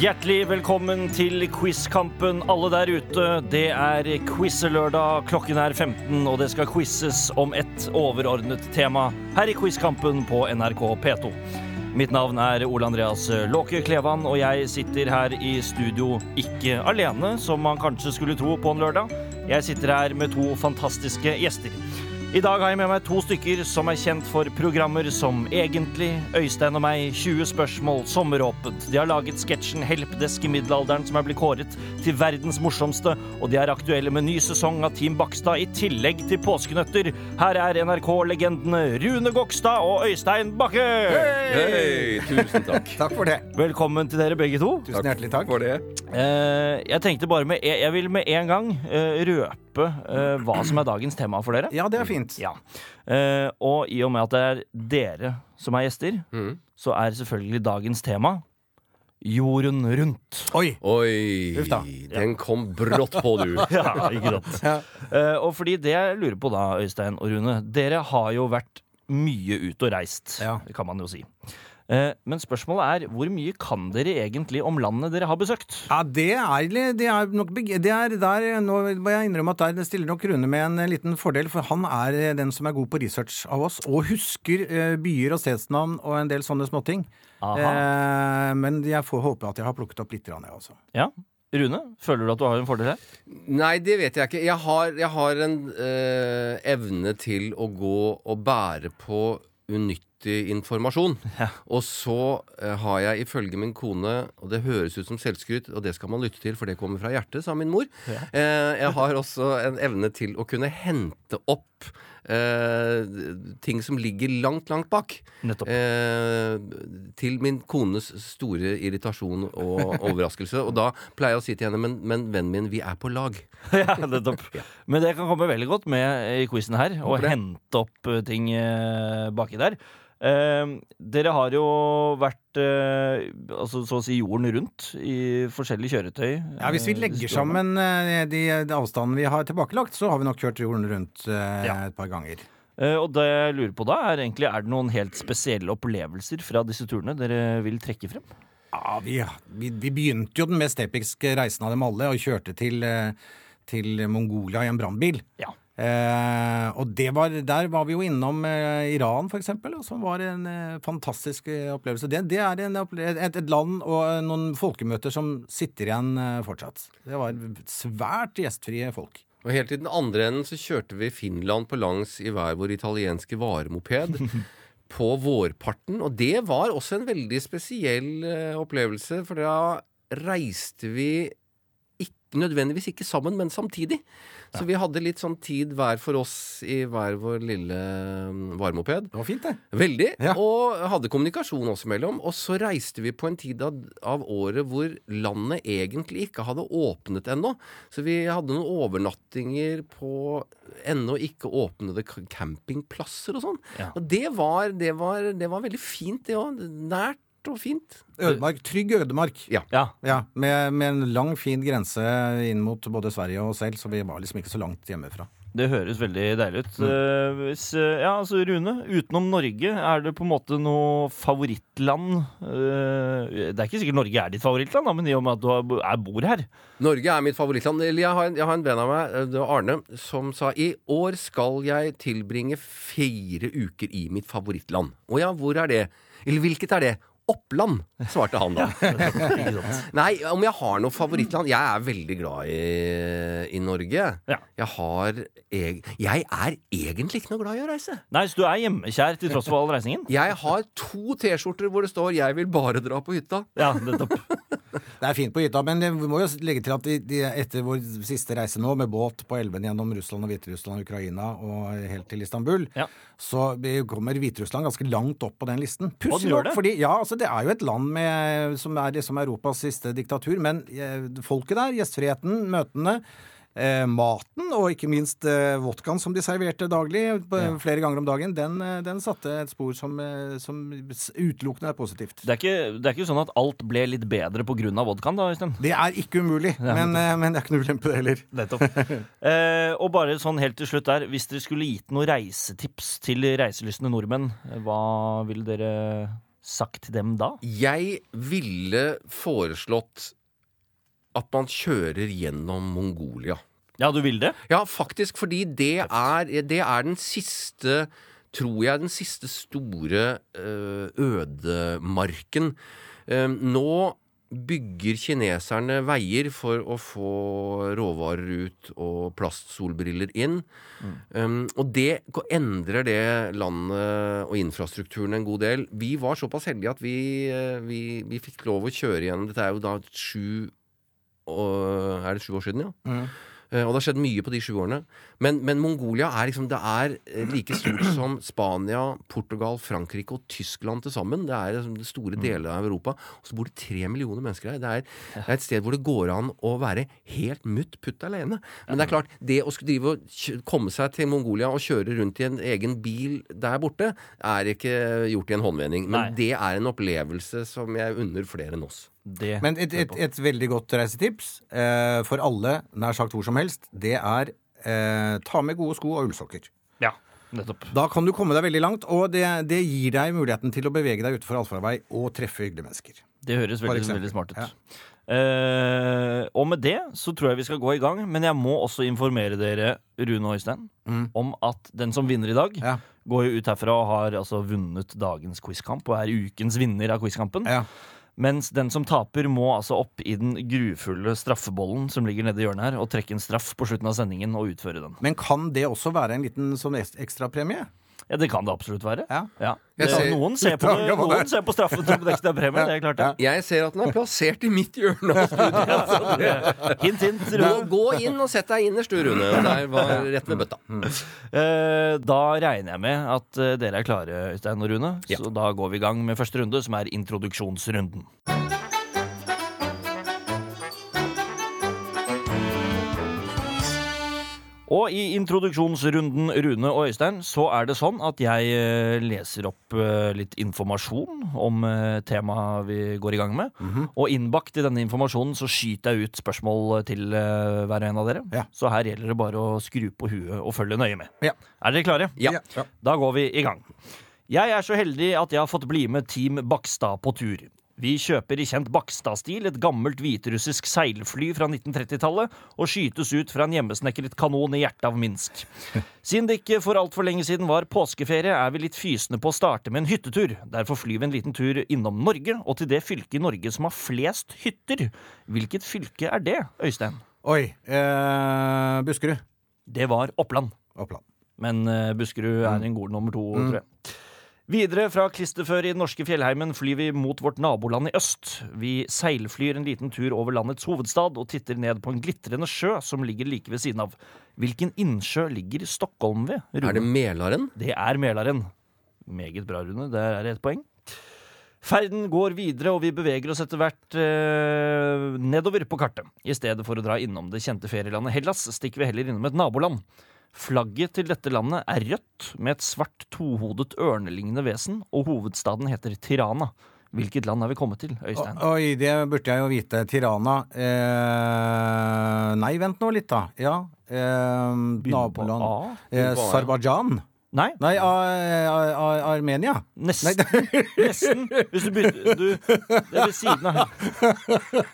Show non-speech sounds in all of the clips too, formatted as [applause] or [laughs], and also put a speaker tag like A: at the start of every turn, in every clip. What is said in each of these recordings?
A: Hjertelig velkommen til Quizkampen, alle der ute. Det er quizelørdag. Klokken er 15, og det skal quizes om ett overordnet tema her i Quizkampen på NRK P2. Mitt navn er Ole Andreas Låke Klevan, og jeg sitter her i studio ikke alene, som man kanskje skulle tro på en lørdag. Jeg sitter her med to fantastiske gjester. I dag har jeg med meg to stykker som er kjent for programmer som Egentlig, Øystein og meg, 20 spørsmål, Sommeråpent. De har laget sketsjen Helpdesk i middelalderen som er blitt kåret til verdens morsomste, og de er aktuelle med ny sesong av Team Bakstad i tillegg til påskenøtter. Her er NRK-legendene Rune Gokstad og Øystein Bakke.
B: Hei, tusen [laughs] takk.
C: Takk for det.
A: Velkommen til dere begge to.
C: Tusen hjertelig takk.
B: For det.
A: Eh, jeg tenkte bare med Jeg vil med en gang eh, røpe eh, hva som er dagens tema for dere.
C: Ja, det er fint.
A: Ja. Eh, og i og med at det er dere som er gjester, så er selvfølgelig dagens tema jorden rundt.
C: Oi!
B: Oi,
C: Uff da.
B: den kom brått på, [laughs] du.
A: [laughs] [laughs] Ja, ikke sant.
C: Ja.
A: Eh, og fordi det jeg lurer på da, Øystein og Rune, dere har jo vært mye ute og reist,
C: Ja.
A: kan man jo si. Eh, men spørsmålet er hvor mye kan dere egentlig om landet dere har besøkt?
C: Ja, det er, det er nok beg- det er der, Nå må jeg innrømme at der stiller nok Rune med en eh, liten fordel, for han er eh, den som er god på research av oss, og husker eh, byer og stedsnavn og en del sånne småting.
A: Aha.
C: Eh, men jeg får håpe at jeg har plukket opp litt, grann, jeg altså. også.
A: Ja. Rune, føler du at du har en fordel her?
B: Nei, det vet jeg ikke. Jeg har, jeg har en eh, evne til å gå og bære på unyttig [laughs] informasjon. Og så eh, har jeg ifølge min kone, og det høres ut som selvskryt, og det skal man lytte til, for det kommer fra hjertet, sa min mor. [laughs] Eh, jeg har også en evne til å kunne hente opp eh, ting som ligger langt, langt bak.
A: Nettopp.
B: Eh, til min kones store irritasjon og [laughs] overraskelse. Og da pleier jeg å si til henne, men, men vennen min, vi er på lag.
A: [laughs] Ja,
C: [laughs]
A: nettopp. Men det kan komme veldig godt med i quizen her, og hente opp eh, ting eh, baki der. Eh, dere har jo vært eh, altså, så å si jorden rundt i forskjellige kjøretøy.
C: Ja, Hvis vi
A: eh,
C: legger
A: siste årene.
C: sammen eh, de, de avstandene vi har tilbakelagt, så har vi nok kjørt jorden rundt eh,
A: Ja.
C: et par ganger.
A: Eh, Og det jeg lurer på da, er egentlig er det noen helt spesielle opplevelser fra disse turene dere vil trekke frem?
C: Ja, vi, vi, vi begynte jo den mest episke reisen av dem alle, og kjørte til, eh, til Mongolia i en brannbil.
A: Ja.
C: Eh, og det var, der var vi jo innom eh, Iran, for eksempel, og som var en eh, fantastisk eh, opplevelse. Det, det er en, opple- et, et land og eh, noen folkemøter som sitter igjen eh, fortsatt. Det var svært gjestfrie folk.
B: Og helt til den andre enden så kjørte vi Finland på langs i hver vår italienske varemoped. På vårparten. Og det var også en veldig spesiell eh, opplevelse, for da reiste vi ikke, nødvendigvis ikke sammen, men samtidig. Så vi hadde litt sånn tid hver for oss i hver vår lille mm, varemoped.
C: Det var fint, det.
B: Veldig.
C: Ja.
B: Og hadde kommunikasjon oss imellom. Og så reiste vi på en tid av, av året hvor landet egentlig ikke hadde åpnet ennå. Så vi hadde noen overnattinger på ennå ikke åpnede k- campingplasser og sånn.
A: Ja.
B: Og det var, det, var, det var veldig fint, det òg. Nært og fint.
C: Ødemark, trygg ødemark.
B: Ja.
A: Ja.
C: Ja, med, med en lang, fin grense inn mot både Sverige og oss selv, så vi var liksom ikke så langt hjemmefra.
A: Det høres veldig deilig ut. Eh, hvis, eh, ja, altså Rune, utenom Norge, er det på en måte noe favorittland? Eh, det er ikke sikkert Norge er ditt favorittland, da, men i og med at du har- er, bor her.
B: Norge er mitt favorittland. Eller jeg har en, jeg har en venn av meg, eh, det var Arne, som sa i år skal jeg tilbringe fire uker i mitt favorittland. Å ja, hvor er det? Eller hvilket er det? Oppland, svarte han da.
A: [laughs] Ikke sant?
B: Nei, om jeg har noe favorittland Jeg er veldig glad i, i Norge.
A: Ja.
B: Jeg har eg, Jeg er egentlig ikke noe glad i å reise.
A: Nei, så du er hjemmekjær til tross for all [laughs] reisingen?
B: Jeg har to T-skjorter hvor det står 'Jeg vil bare dra på hytta'.
A: Ja, nettopp.
C: Det er fint på hytta, men vi må jo legge til at de, de, etter vår siste reise nå, med båt på elven gjennom Russland og Hviterussland og Ukraina og helt til Istanbul,
A: Ja.
C: så vi kommer Hviterussland ganske langt opp på den listen.
A: Og den
C: Pussig
A: gjør
C: nok,
A: det.
C: fordi ja, altså, det er jo et land med, som er liksom Europas siste diktatur, men eh, folket der, gjestfriheten, møtene Eh, maten, og ikke minst eh, vodkaen som de serverte daglig, på, flere ganger om dagen, den, eh, den satte et spor som, eh, som utelukkende er positivt.
A: Det er, ikke, det er ikke sånn at alt ble litt bedre på grunn av vodkaen, da, Øystein?
C: Det er ikke umulig, men, eh, men det er ikke noe ulempe, det heller.
A: Nettopp. [laughs] Eh, og bare sånn helt til slutt der, hvis dere skulle gitt noen reisetips til reiselystne nordmenn, eh, hva ville dere sagt til dem da?
B: Jeg ville foreslått at man kjører gjennom Mongolia.
A: Ja, du vil det?
B: Ja, faktisk, fordi det er, det er den siste Tror jeg den siste store eh, ødemarken. Eh, Nå bygger kineserne veier for å få råvarer ut og plastsolbriller inn. Um, og det ko- endrer det landet og infrastrukturen en god del. Vi var såpass heldige at vi, eh, vi, vi fikk lov å kjøre gjennom Dette er jo da sju og, Er det sju år siden, ja? Eh, Og det har skjedd mye på de sju årene. Men, men Mongolia er liksom Det er eh, like stort som Spania, Portugal, Frankrike og Tyskland til sammen. Det er liksom det store deler av Europa. Og så bor det tre millioner mennesker her. Det er, det er et sted hvor det går an å være helt mutt putt alene. Men det er klart, det å skulle drive og kjø- komme seg til Mongolia og kjøre rundt i en egen bil der borte, er ikke gjort i en håndvending. Men
A: Nei.
B: det er en opplevelse som jeg unner flere enn oss.
A: Det
C: Men et, et, et veldig godt reisetips eh, for alle, nær sagt hvor som helst, det er eh, ta med gode sko og ullsokker.
A: Ja, nettopp.
C: Da kan du komme deg veldig langt, og det, det gir deg muligheten til å bevege deg utenfor allfarvei og treffe hyggelige mennesker.
A: Det høres veldig,
C: eksempel.
A: veldig smart ut.
C: Ja.
A: Eh, og med det så tror jeg vi skal gå i gang, men jeg må også informere dere, Rune og Øystein, om at den som vinner i dag,
C: Mm. Ja.
A: går jo ut herfra og har altså vunnet dagens quizkamp og er ukens vinner av quizkampen.
C: Ja.
A: Mens den som taper, må altså opp i den grufulle straffebollen som ligger nede i hjørnet her, og trekke en straff på slutten av sendingen og utføre den.
C: Men kan det også være en liten sånn ek- ekstrapremie?
A: Ja, Det kan det absolutt være.
C: Ja.
A: Det,
B: Jeg ser-
A: noen ser på, det, noen ser på straffen som en ekstra premie. Det er klart, det.
B: Jeg ser at den er plassert i mitt hjørne av studioet.
A: Hint, hint.
B: Gå,
A: Rune.
B: gå inn og sett deg innerst, du, Rune. Der var rett ved bøtta.
A: Eh, da regner jeg med at eh, dere er klare, Øystein og Rune.
B: Ja.
A: Så da går vi i gang med første runde, som er introduksjonsrunden. Og i introduksjonsrunden, Rune og Øystein, så er det sånn at jeg eh, leser opp eh, litt informasjon om eh, temaet vi går i gang med. Og innbakt i denne informasjonen så skyter jeg ut spørsmål til eh, hver og en av dere.
C: Ja.
A: Så her gjelder det bare å skru på huet og følge nøye med.
C: Ja.
A: Er dere klare?
B: Ja.
A: Da går vi i gang. Jeg er så heldig at jeg har fått bli med Team Bakstad på tur. Vi kjøper i kjent Bakstad-stil et gammelt hviterussisk seilfly fra 1930-tallet og skytes ut fra en hjemmesnekret kanon i hjertet av Minsk. Siden det ikke for altfor lenge siden var påskeferie, er vi litt fysne på å starte med en hyttetur. Derfor flyr vi en liten tur innom Norge, og til det fylket i Norge som har flest hytter. Hvilket fylke er det, Øystein?
C: Oi. Eh, Buskerud.
A: Det var Oppland.
C: Oppland.
A: Men eh, Buskerud er en god nummer to, tror jeg. Videre fra klisterføret i den norske fjellheimen flyr vi mot vårt naboland i øst. Vi seilflyr en liten tur over landets hovedstad og titter ned på en glitrende sjø som ligger like ved siden av. Hvilken innsjø ligger Stockholm ved? Rune?
B: Er det Mælaren?
A: Det er Mælaren. Meget bra, Rune. Der er det ett poeng. Ferden går videre, og vi beveger oss etter hvert eh, nedover på kartet. I stedet for å dra innom det kjente ferielandet Hellas, stikker vi heller innom et naboland. Flagget til dette landet er rødt, med et svart tohodet ørnelignende vesen, og hovedstaden heter Tirana. Hvilket land er vi kommet til, Øystein?
C: Oi, det burde jeg jo vite. Tirana. Eh, nei, vent nå litt, da. Ja. Eh,
A: Begynner på
C: naboland
A: A.
C: eh, Sarbajan.
A: Nei,
C: Nei, a, a, a, Armenia. [laughs]
A: nesten. nesten. Hvis du bytter Du, det er ved siden av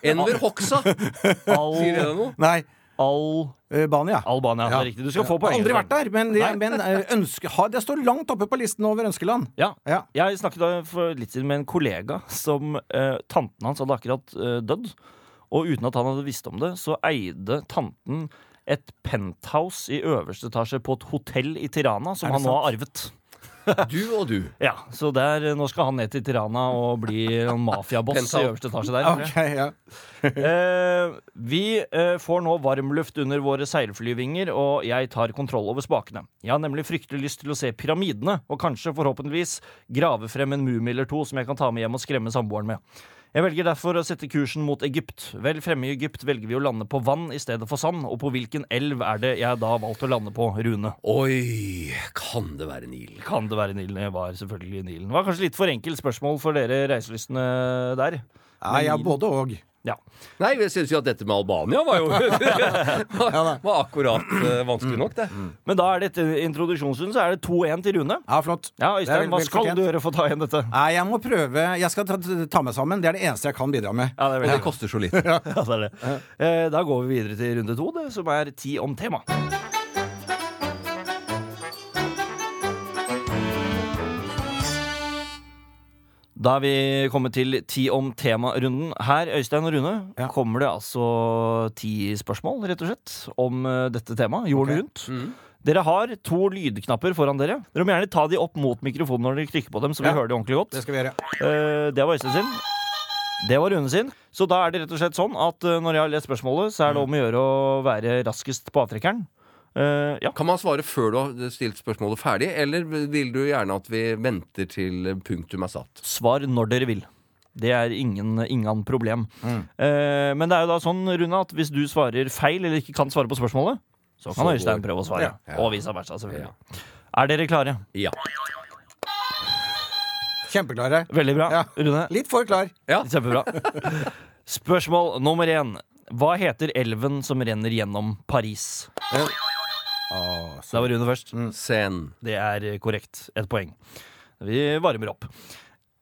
C: [laughs]
B: Enver Hoxha! Sier det
A: Al...
B: deg noe?
C: Nei,
A: Al...
C: Albania.
A: Albania. Det
C: Ja.
A: er riktig. Du skal få
C: Jeg har
A: poeng.
C: aldri vært der, men, det, men eh, ønske, ha, det står langt oppe på listen over ønskeland.
A: Ja.
C: Ja.
A: Jeg snakket da for litt siden med en kollega som eh, Tanten hans hadde akkurat eh, dødd. Og uten at han hadde visst om det, så eide tanten et penthouse i øverste etasje på et hotell i Tirana, som
C: Er det
A: han nå
C: sant?
A: har arvet.
B: Du og du.
A: Ja, Så der, eh, nå skal han ned til Tirana og bli
C: [laughs]
A: en mafiaboss i
B: Penthouse.
A: øverste etasje der. tror jeg.
C: Ok, ja.
A: Eh, vi eh, får nå varmluft under våre seilflyvinger, og jeg tar kontroll over spakene. Jeg har nemlig fryktelig lyst til å se pyramidene, og kanskje, forhåpentligvis, grave frem en mumie eller to som jeg kan ta med hjem og skremme samboeren med. Jeg velger derfor å sette kursen mot Egypt. Vel fremme i Egypt velger vi å lande på vann i stedet for sand, og på hvilken elv er det jeg da har valgt å lande på, Rune?
B: Oi, kan det være Nilen?
A: Kan det være Nilen? Det var selvfølgelig Nilen. Det var kanskje litt for enkelt spørsmål for dere reiselystne der.
C: Nei, ja, både og.
A: Ja.
B: Nei, jeg syns jo at dette med Albania var jo [laughs] var, var akkurat eh, vanskelig nok, det.
A: Men da er det etter introduksjonsrunden, så er det 2-1 til Rune.
C: Ja, flott.
A: Ja,
C: Det er
A: Øystein,
C: vel-
A: hva
C: vel
A: skal
C: fortjent.
A: du gjøre for å ta igjen dette?
C: Nei, jeg må prøve. Jeg skal ta, ta meg sammen. Det er det eneste jeg kan bidra med.
A: Ja, det er
B: Og
A: veldig
B: det koster så lite.
A: Ja, det er det. Eh, Da går vi videre til runde to, det, som er ti om tema. Da er vi kommet til ti om tema-runden. Her Øystein og Rune,
C: Ja.
A: kommer det altså ti spørsmål rett og slett, om eh, dette temaet. Jorden rundt.
C: Mm.
A: Dere har to lydknapper foran dere. Dere må gjerne ta de opp mot mikrofonen når dere klikker på dem. så vi
C: Ja.
A: hører det ordentlig godt.
C: Det skal vi gjøre.
A: Eh, det var Øystein sin. Det var Rune sin. Så da er det rett og slett sånn at eh, når jeg har lest spørsmålet, så er det
B: Mm.
A: om å gjøre å være raskest på avtrekkeren. Eh, ja.
B: Kan man svare før du har stilt spørsmålet ferdig, eller vil du gjerne at vi venter til punktum er satt?
A: Svar når dere vil. Det er ingen, ingen problem.
B: Mm.
A: Eh, men det er jo da sånn, Rune, at hvis du svarer feil eller ikke kan svare på spørsmålet, så kan
B: Så
A: Øystein
B: går-
A: prøve å svare.
B: Ja.
A: Og vice versa, selvfølgelig. Er dere klare?
B: Ja.
C: Kjempeklare.
A: Veldig bra.
C: Ja.
A: Rune,
C: Litt for klar.
B: [laughs]
A: kjempebra. Spørsmål nummer én. Hva heter elven som renner gjennom Paris?
C: Å, så-
A: Da var Rune først.
B: Sen.
A: Det er korrekt. Et poeng. Vi varmer opp.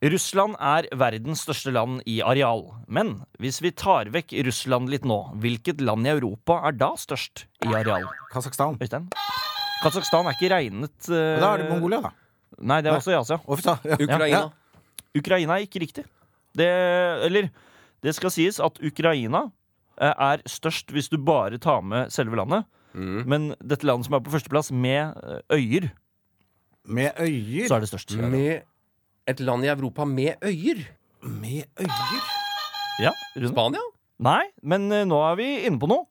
A: Russland er verdens største land i areal. Men hvis vi tar vekk Russland litt nå, hvilket land i Europa er da størst i areal?
C: Kasakhstan.
A: Øystein? Kasakhstan er ikke regnet eh,
C: Og Da er det Mongolia, da.
A: Nei, det er også i Asia.
C: Uff da. Ja.
B: Ukraina.
A: Ukraina er ikke riktig. Det Eller, det skal sies at Ukraina eh, er størst hvis du bare tar med selve landet.
B: Mm.
A: Men dette landet som er på førsteplass med eh, øyer,
C: Med øyer.
A: så er det størst.
B: Med et land i Europa med øyer.
C: Med øyer?
A: Ja, Rune?
B: Spania?
A: Nei, men eh, nå er vi inne på noe.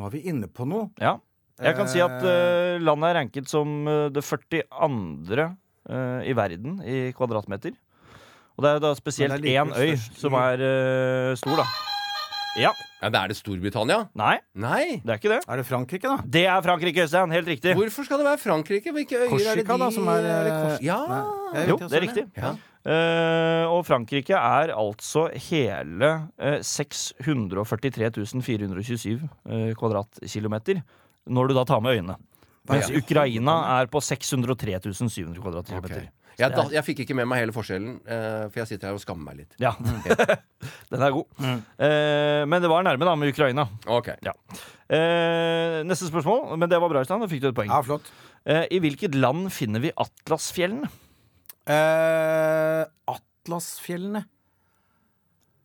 C: Nå er vi inne på noe.
A: Ja. Jeg kan si at
C: Eh,
A: eh, landet er ranket som eh, det 42. eh, i verden i kvadratmeter. Og det er da spesielt
C: Men det er
A: én
C: likevel
A: øy
C: størst i-
A: som er eh, stor, da. Ja.
B: Ja, men er det Storbritannia?
A: Nei,
B: Nei.
A: det er ikke det.
C: Er det Frankrike, da?
A: Det er Frankrike, Øystein. Helt riktig.
B: Hvorfor skal det være Frankrike? Hvilke øyer er det
C: Korsika,
B: de
C: da, som er,
B: det Kors-
C: eh,
B: Ja.
C: Nei, jeg
A: Jo,
C: vet ikke,
A: det er
C: Søren, jeg.
A: riktig.
B: ja.
A: Eh, og Frankrike er altså hele eh, 643 427 eh, kvadratkilometer. Når du da tar med øyene. Mens
B: Ah, Ja.
A: Ukraina er på 603 700 kvadratkilometer.
B: Jeg, da, jeg fikk ikke med meg hele forskjellen, eh, for jeg sitter her og skammer meg litt.
A: Ja. [laughs] Den er god.
B: Mm.
A: Eh, men det var nærme, da, med Ukraina.
B: Ok.
A: Ja. Eh, neste spørsmål, men det var bra, Øystein. Da fikk du et poeng.
C: Ja, flott.
A: Eh, I hvilket land finner vi Atlasfjellene?
C: Eh, Atlasfjellene.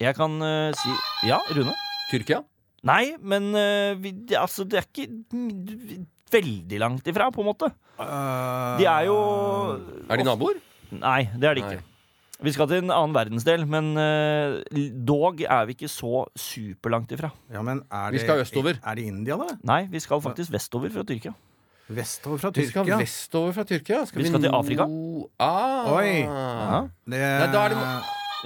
A: Jeg kan eh, si Ja, Rune?
B: Tyrkia?
A: Nei, men eh, vi, det, altså, det er ikke mm, veldig langt ifra, på en måte.
C: Eh,
A: De er jo
B: Er de naboer?
A: Nei, det er de ikke.
B: Ah. Nei.
A: Vi skal til en annen verdensdel, men eh, dog er vi ikke så superlangt ifra.
C: ja, men er
B: Vi
C: det-
B: skal østover.
C: Er det India, da?
A: Nei, vi skal faktisk vestover fra Tyrkia.
C: Vestover fra
B: Vi skal
C: Tyrkia?
B: vestover fra Tyrkia.
A: Vi skal til
B: no-
A: Afrika.
B: Ah.
C: Oi.
A: Ja,
C: Det,
B: Nei, da er det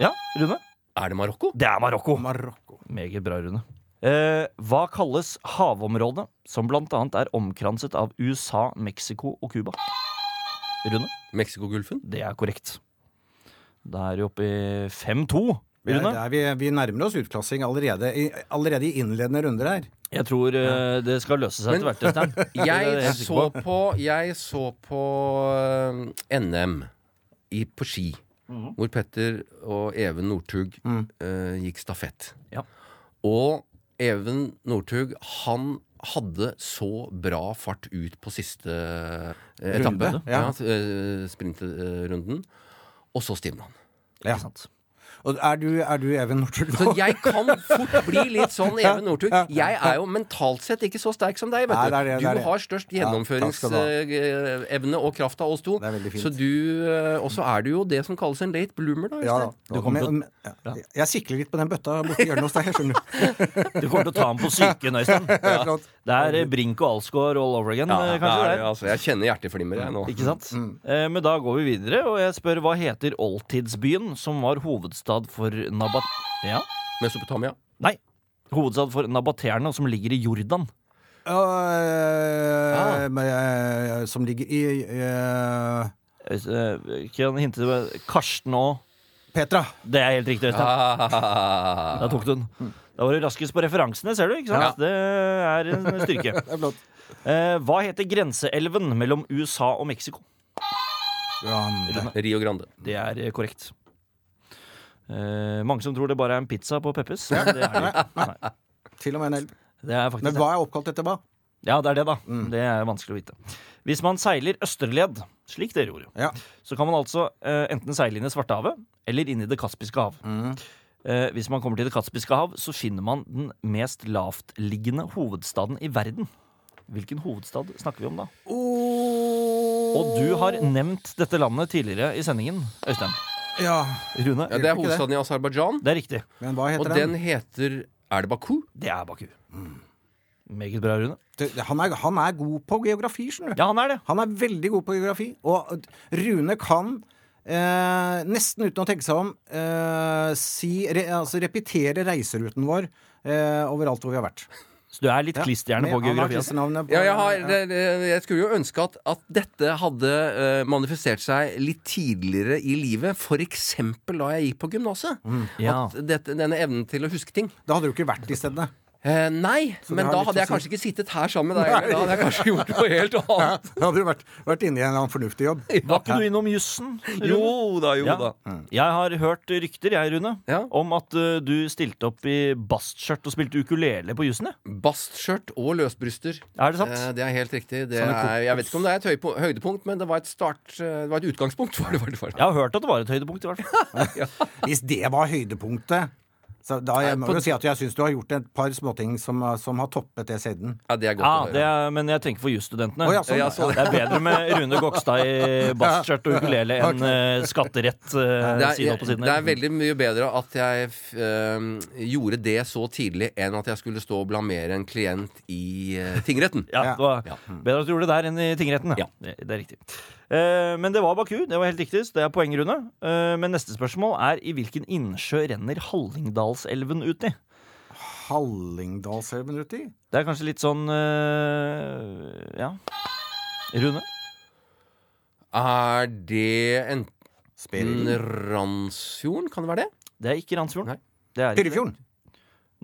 A: ja Rune?
B: Er det Marokko?
A: Det er Marokko.
C: Marokko.
A: Meget bra, Rune. Eh, hva kalles havområdet som blant annet er omkranset av USA, Mexico og Cuba? Rune,
B: Mexicogolfen?
A: det er korrekt. Da er vi oppe i 5-2.
C: Det,
A: Rune,
C: det er, vi, vi nærmer oss utklassing allerede i, allerede i innledende runder her.
A: jeg tror eh, det skal løse seg etter hvert. Øystein. Det er
B: [laughs] Jeg
A: helt sikker
B: så
A: på.
B: på, jeg så på eh, NM i, på ski.
A: Mhm.
B: Hvor Petter og Even Northug eh, gikk stafett.
A: Mm. Ja.
B: Og Even Northug, han hadde så bra fart ut på siste eh, etappe.
C: Runde,
B: Ja.
C: ja.
B: eh, Sprintrunden. Og så stivna han.
C: Ja.
A: Ikke sant?
C: Og er du, er du Even Northug
B: Så
C: nå?
B: jeg kan fort bli litt sånn Even Northug. Jeg er jo mentalt sett ikke så sterk som deg, vet
C: Nei,
B: du.
C: det er det, det er
B: Du
C: det.
B: har størst
C: Ja, takk skal du ha.
B: gjennomføringsevne og kraft av oss to.
C: Det er veldig fint.
B: Så du eh, Og så er du jo det som kalles en late bloomer, da.
C: Ja da.
B: Øystein.
C: Nå kommer jeg, jeg, jeg sikler litt på den bøtta borti hjørnet hos deg, skjønner du. sånn,
A: Du kommer til å ta ham på psyken, Øystein.
C: Ja. Flott.
A: Det er eh, Brink og Alsgaard all over again, eh,
B: Ja,
A: kanskje?
B: det
A: der.
B: er, altså, jeg kjenner hjerteflimmer, jeg nå.
A: Ikke sant?
C: Mm.
A: Eh, men da går vi videre, og jeg spør hva heter oldtidsbyen som var hovedstad for Nabat... Ja?
B: Mesopotamia.
A: Nei. Hovedstad for nabateerne, som ligger i Jordan.
C: Øh,
B: Ah.
C: men, øh, som ligger i øh,
A: Eh, Kan jeg hinte til Karsten og
C: Petra.
A: Det er helt riktig. Øystein.
B: Ah.
A: Da tok du
C: Mm.
A: den. Da var du raskest på referansene, ser du. ikke sant? Det er en styrke.
C: [laughs] er flott.
A: Eh, hva heter grenseelven mellom USA og Mexico?
C: Grande.
B: [laughs] Rio Grande.
A: Det er eh, korrekt. Eh, mange som tror det bare er en pizza på Peppes. men Det er det ikke.
C: [laughs]
A: Nei,
C: Til og med en elv.
A: det er faktisk
C: Men hva er oppkalt etter hva?
A: Ja, det er det, da. Det er vanskelig å vite. Hvis man seiler østerled, slik dere gjorde,
C: Ja.
A: så kan man altså eh, enten seile inn i Svartehavet eller inn i Det kaspiske hav. Eh, hvis man kommer til Det kaspiske hav, så finner man den mest lavtliggende hovedstaden i verden. Hvilken hovedstad snakker vi om da? Og du har nevnt dette landet tidligere i sendingen, Øystein.
C: ja.
A: Rune.
B: Ja, det er
C: Ikke det.
B: hovedstaden i Aserbajdsjan,
A: Det er riktig.
C: Men hva
B: og
C: heter
B: den
C: den?
B: heter Er det Baku?
A: Det er Baku. Meget bra, Rune.
C: Det- Han, er, han er god på geografi, skjønner du.
A: Ja, han er det.
C: Han er veldig god på geografi, og Rune kan eh, nesten uten å tenke seg om eh, si, re, altså repetere reiseruten vår eh, overalt hvor vi har vært.
A: Så du er litt klisterhjerne på geografi. altså.
B: Ja, jeg, har, det- det- jeg skulle jo ønske at, at dette hadde eh, manifestert seg litt tidligere i livet, f.eks. da jeg gikk på gymnaset.
A: Mm, Ja.
B: At dette, denne evnen til å huske ting.
C: Da hadde du ikke vært de stedene.
B: Eh, nei,
C: det
B: men
C: har
B: da hadde
C: litt
A: sånn
B: jeg
C: å
B: kanskje
C: si.
B: ikke sittet her sammen med deg. eller Da hadde jeg kanskje gjort noe helt annet.
C: Da hadde du vært, vært inne i en eller annen fornuftig jobb.
A: Var ikke du innom jussen? Rune?
B: da,
A: Ja.
C: Mm.
A: Jeg har hørt rykter, jeg, Rune,
B: Ja.
A: om at eh, du stilte opp i bastskjørt og spilte ukulele på jussen. ja.
B: Bastskjørt og løsbryster.
A: Er det sant?
B: Eh, det er helt riktig. Det
A: Sånne kokos.
B: er, jeg vet ikke om det er et høypo- høydepunkt, men det var et start eh, Det var et utgangspunkt. [laughs] Var det, var det, var det.
A: Jeg har hørt at det var et høydepunkt, i hvert fall.
C: Hvis det var høydepunktet så da jeg må
B: på-
C: jo si at jeg syns du har gjort et par småting som, som har toppet det siden.
B: Ja, det er godt
A: Ja,
B: å
A: Ah, det
B: høre.
A: er, men jeg tenker for jusstudentene.
C: Å, ja, sånn,
B: Ja, sånn.
A: Det er bedre med Rune Gokstad
C: [laughs]
A: i bastskjørt og ukulele enn eh, skatterett eh,
B: Det
A: side
B: er,
A: opp og side
B: det er
A: ned.
B: veldig mye bedre at jeg f- ehm, gjorde det så tidlig enn at jeg skulle stå og blamere en klient i eh, tingretten.
C: [laughs]
A: Ja, det var
C: Mm.
A: Bedre at du gjorde det der enn i tingretten.
B: Ja.
A: Det, det er riktig. Eh, men det var Baku. Det var helt riktig. så Det er poeng, Rune. Eh, men neste spørsmål er i hvilken innsjø renner Hallingdalselven ut i?
C: Hallingdalselven uti?
A: Det er kanskje litt sånn øh, Ja. Rune?
B: Er det enten Mm,
C: Spirilden?
B: Randsfjorden? Kan det være det?
A: Det er ikke Randsfjorden.
B: Nei.
A: Det er ikke.
C: Tyrifjorden.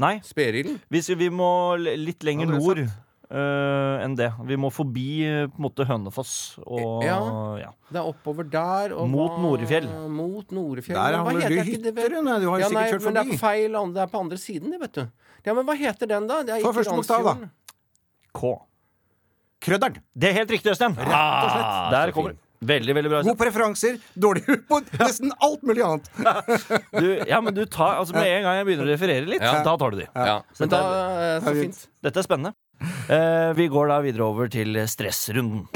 A: Nei.
B: Sperilden?
A: Hvis vi må l- litt lenger
B: Ja, det er
A: nord øh, enn det. Vi må forbi øh, på en måte Hønefoss og
B: Ja.
A: ja.
B: Det er oppover der. Og
A: Mot
B: hva-
A: Norefjell.
B: Mot Norefjell.
C: Der
B: Men hva
C: handler
B: heter
C: du
B: ikke det
C: hytter,
B: vel?
C: Rune. Du har jo
B: Ja, nei,
C: sikkert kjørt
B: men det er
C: forbi.
B: feil an- Det er på andre siden, det, vet du. Ja, men hva heter den, da? Det er
C: Ta
B: ikke
C: første bokstav, da.
B: Randsfjorden.
A: K.
C: Krødderen.
A: Det er helt riktig, Øystein. Ah, Rett og slett. Der kommer det. Veldig, veldig bra.
C: God
A: Øystein.
C: på referanser, dårlig på nesten alt mulig annet.
A: Du, ja, men du tar, altså Med en gang jeg begynner å referere litt,
B: Ja.
A: da tar du de.
B: Ja. Men da eh, Så
C: er fint.
B: fint.
A: Dette er spennende. Eh, vi går da videre over til stressrunden.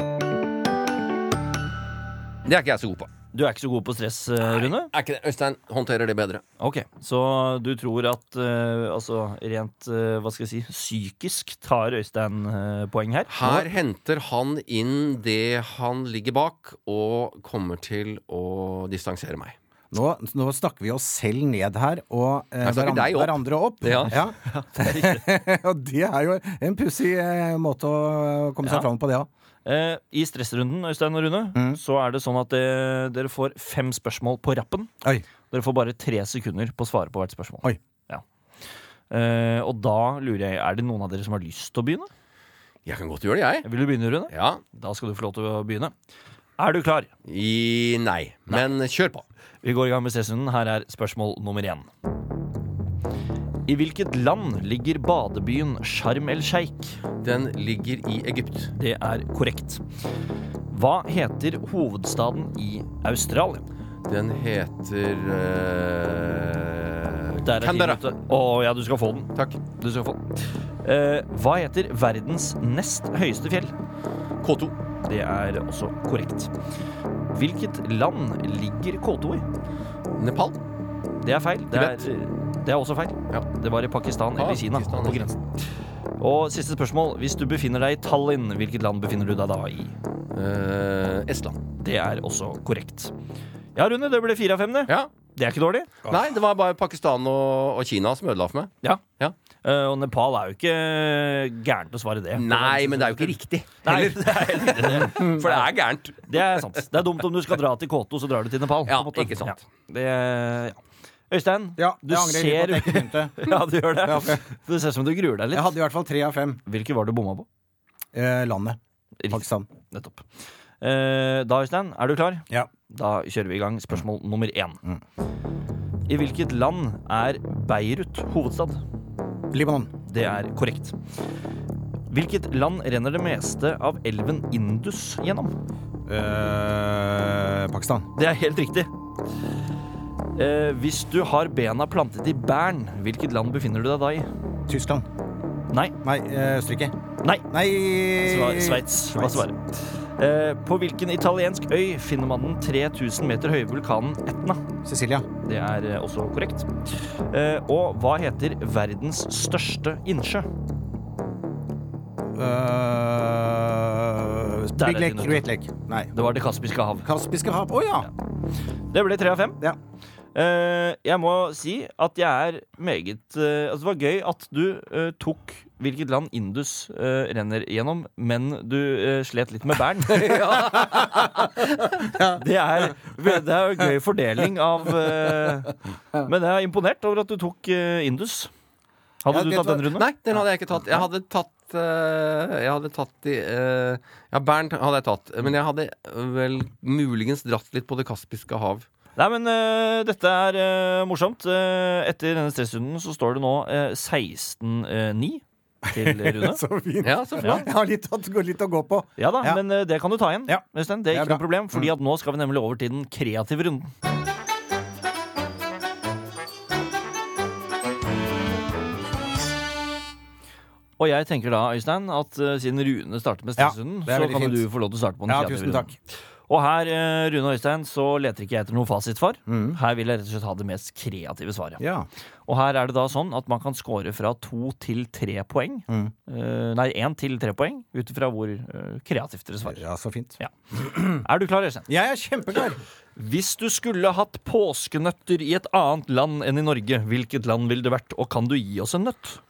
B: Det er ikke jeg så god på.
A: Du er ikke så god på stress, eh, Rune?
B: Er ikke det? Øystein håndterer det bedre.
A: Ok, Så du tror at eh, altså rent eh, hva skal jeg si, psykisk tar Øystein eh, poeng her?
B: Her henter han inn det han ligger bak, og kommer til å distansere meg.
C: Nå, nå snakker vi oss selv ned her, og eh,
B: Jeg snakker
C: hverandre,
B: deg opp.
C: hverandre opp.
B: Ja.
C: [laughs] og det er jo en pussig eh, måte å komme seg
A: Ja.
C: fram på, det òg.
A: Eh, I stressrunden Øystein og Rune, så er det sånn at eh, dere får fem spørsmål på rappen.
C: Oi.
A: Dere får bare tre sekunder på å svare på hvert spørsmål.
C: Oi.
A: Ja. Eh, og da lurer jeg, er det noen av dere som har lyst til å begynne?
B: Jeg kan godt gjøre det, jeg.
A: Vil du begynne, Rune?
B: Ja.
A: Da skal du få lov til å begynne. Er du klar?
B: I nei. Men kjør på.
A: Vi går i gang med stressrunden. Her er spørsmål nummer én. I hvilket land ligger badebyen Sharm el Sheikh?
B: Den ligger i Egypt.
A: Det er korrekt. Hva heter hovedstaden i Australia?
B: Den heter eh,
A: Der er tiden
B: Canberra.
A: ute. Å ja, du skal få den.
B: Takk.
A: Du skal få den. Eh, hva heter verdens nest høyeste fjell?
B: K2.
A: Det er også korrekt. Hvilket land ligger K2 i?
B: Nepal.
A: Det er feil. Det er, det er også feil.
B: Ja. Ah,
A: Det var i Pakistan eller Kina.
B: Pakistan,
A: på
B: ja.
A: grensen. Og siste spørsmål. Hvis du befinner deg i Tallinn, hvilket land befinner du deg da i?
B: Eh, Estland.
A: Det er også korrekt. Ja, Rune, det ble fire av fem, det.
B: Ja.
A: Det er ikke dårlig.
B: Nei, det var bare Pakistan og, og Kina som ødela for meg.
A: Ja.
B: Ja.
A: Eh, og Nepal er jo ikke gærent å svare det.
B: Nei, men det er jo ikke riktig.
A: Nei, [laughs]
B: Heller.
A: det er, heller ikke det.
B: For det er gærent.
A: det er sant. Det er dumt om du skal dra til Koto, så drar du til Nepal.
B: Ja,
A: på en måte.
B: ikke sant.
A: Ja. Det, ja. Øystein,
C: Ja,
A: du
C: jeg angrer litt på
A: ser
C: at jeg ikke begynte.
A: [laughs] Ja, du gjør det.
C: Ja, for jeg-
A: Det ser ut som du gruer deg
C: Jeg
A: litt.
C: hadde i hvert fall tre av fem.
A: Hvilke var det du bomma på?
C: Eh, landet.
A: Riktig.
C: Pakistan.
A: Nettopp. Eh, Da, Øystein, er du klar?
C: Ja.
A: Da kjører vi i gang spørsmål nummer én.
C: Mm.
A: I hvilket land er Beirut hovedstad?
C: Libanon.
A: Det er korrekt. Hvilket land renner det meste av elven Indus gjennom?
C: Eh, Pakistan.
A: Det er helt riktig. Eh, hvis du har bena plantet i Bern, hvilket land befinner du deg da i?
C: Tyskland.
A: Nei.
C: Nei, eh, Østerrike.
A: Nei.
C: Nei Eh,
A: Sva- Sveits var svaret. Eh, på hvilken italiensk øy finner man den 3000 meter høye vulkanen Etna?
C: Sicilia.
A: Det er eh, også korrekt. Eh, og hva heter verdens største innsjø?
C: Eh,
A: Der er
C: Big Lake.
A: det
C: Great Lake. Nei.
A: Det var Det kaspiske hav.
C: Kaspiske hav. Å ja. [laughs]
A: Det ble tre av fem.
C: ja!
A: Eh, jeg må si at jeg er meget eh, Altså, det var gøy at du eh, tok hvilket land Indus eh, renner gjennom, men du eh, slet litt med [laughs] Bern. det, er, det er jo gøy fordeling av eh, Men jeg er imponert over at du tok eh, Indus. Hadde
B: Ja,
A: du
B: vet
A: tatt
B: hva?
A: den runden?
B: Nei, den hadde jeg ikke tatt. Jeg hadde tatt eh, Jeg hadde tatt de eh, Ja, Bernt hadde jeg tatt. Men jeg hadde vel muligens dratt litt på Det kaspiske hav.
A: Nei, men eh, dette er eh, morsomt. Eh, etter denne stressrunden så står det nå eh, 16-9 til Rune.
C: Så fint.
B: Ja, så
A: Ja.
B: flott.
C: Jeg har litt, å- litt å gå på.
A: Ja da,
C: Ja.
A: men eh, det kan du ta igjen.
C: Ja.
A: Øystein. Det er ikke noe
C: Det er bra. Mm.
A: problem, fordi at nå skal vi nemlig over til den kreative runden. Og jeg tenker da, Øystein, at eh, siden Rune startet med
C: Ja,
A: stressrunden,
C: det er
A: så
C: veldig
A: kan
C: fint.
A: du få lov til å starte på den
C: Ja,
A: kreative
C: tusen
A: runden.
C: takk.
A: Og her, eh, Rune og Øystein, så leter ikke jeg etter noe fasit for. Her vil jeg rett og slett ha det mest kreative svaret.
C: Mm. Ja.
A: Og her er det da sånn at man kan score fra to til tre poeng. Eh, nei, én til tre poeng, ut ifra hvor eh, kreativt dere svarer.
C: ja, så fint.
A: Er du klar, Øystein?
C: Jeg er kjempeklar.
A: Hvis du skulle hatt påskenøtter i et annet land enn i Norge, hvilket land ville det vært, og kan du gi oss en nøtt?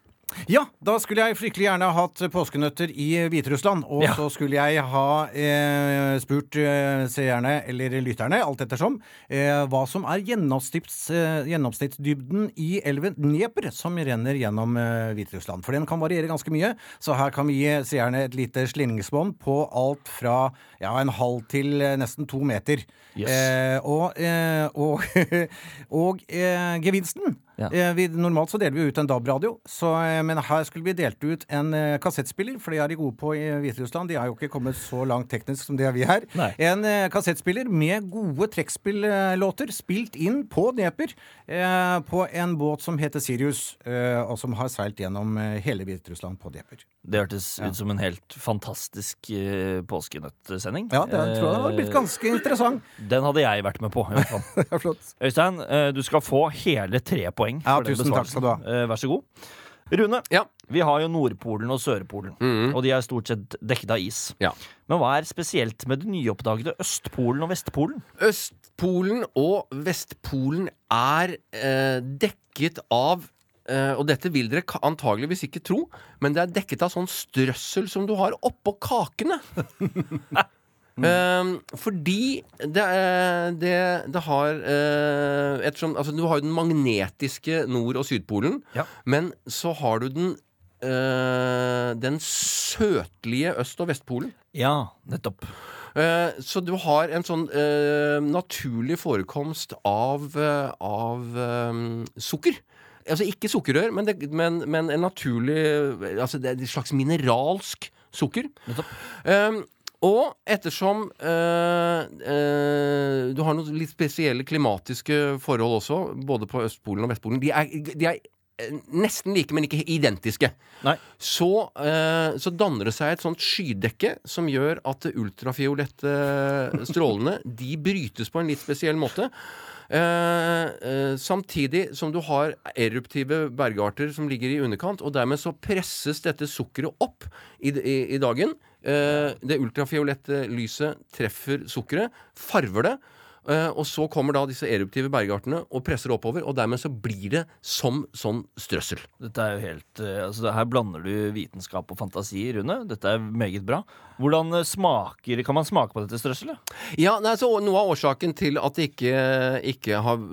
C: Ja, da skulle jeg fryktelig gjerne hatt påskenøtter i Hviterussland. Og
A: Ja.
C: så skulle jeg ha eh, spurt eh, seerne, eller lytterne, alt ettersom, eh, hva som er gjennomsnitts, eh, gjennomsnittsdybden i elven Dnieper, som renner gjennom eh, Hviterussland. For den kan variere ganske mye, så her kan vi gi seerne et lite slingringsbånd på alt fra ja, en halv til eh, nesten to meter.
A: Yes.
C: Eh, og eh, og, [laughs] og eh, gevinsten
A: Ja.
C: Eh, vi, normalt så deler vi ut en DAB-radio, så, eh, men her skulle vi delt ut en eh, kassettspiller, for det er de gode på i Hviterussland. De har jo ikke kommet så langt teknisk som det er vi her.
A: Nei.
C: En eh, kassettspiller med gode trekkspillåter spilt inn på Dnieper eh, på en båt som heter Sirius, eh, og som har seilt gjennom eh, hele Hviterussland på Dnieper.
A: Det hørtes ut som en helt fantastisk eh, påskenøttsending.
C: Ja, det tror jeg har blitt ganske
B: [laughs]
C: interessant.
A: Eh, Den hadde jeg vært med på. i hvert fall.
C: [laughs] Det er flott.
A: Øystein, eh, du skal få hele tre poeng.
C: Ja,
A: for den
C: tusen takk
A: besvarelsen.
C: skal du ha.
A: Eh, Vær så god. Rune,
B: Ja.
A: vi har jo Nordpolen og Sørpolen, og de er stort sett dekket av is.
B: ja.
A: Men hva er spesielt med det nyoppdagede Østpolen og Vestpolen?
B: Østpolen og Vestpolen er eh, dekket av eh, Og dette vil dere ka- antageligvis ikke tro, men det er dekket av sånn strøssel som du har oppå kakene. Eh, fordi det, er- det, det har eh, Ettersom Altså, du har jo den magnetiske Nord- og Sydpolen,
A: Ja.
B: men så har du den eh, den søtlige Øst- og Vestpolen.
A: Ja, nettopp.
B: Eh, Så du har en sånn eh, naturlig forekomst av, eh, av eh, sukker. Altså ikke sukkerrør, men, det, men, men en naturlig eh, Altså det er et slags mineralsk sukker.
A: Nettopp.
B: Eh, og ettersom eh, eh, du har noen litt spesielle klimatiske forhold også, både på Østpolen og Vestpolen De er, de er eh, nesten like, men ikke identiske
A: Nei.
B: så, eh, så danner det seg et sånt skydekke som gjør at de ultrafiolette strålene de brytes på en litt spesiell måte. Eh, eh, samtidig som du har eruptive bergarter som ligger i underkant, og dermed så presses dette sukkeret opp i, d- i, i dagen. Eh, det ultrafiolette lyset treffer sukkeret, farver det, Eh, Og så kommer da disse eruptive bergartene og presser oppover, og dermed så blir det som sånn strøssel.
A: Dette er jo helt eh, altså det Her blander du vitenskap og fantasi, Rune. Dette er meget bra. Hvordan eh, smaker Kan man smake på dette strøsselet?
B: Ja, nei, så Noe av årsaken til at det ikke, ikke har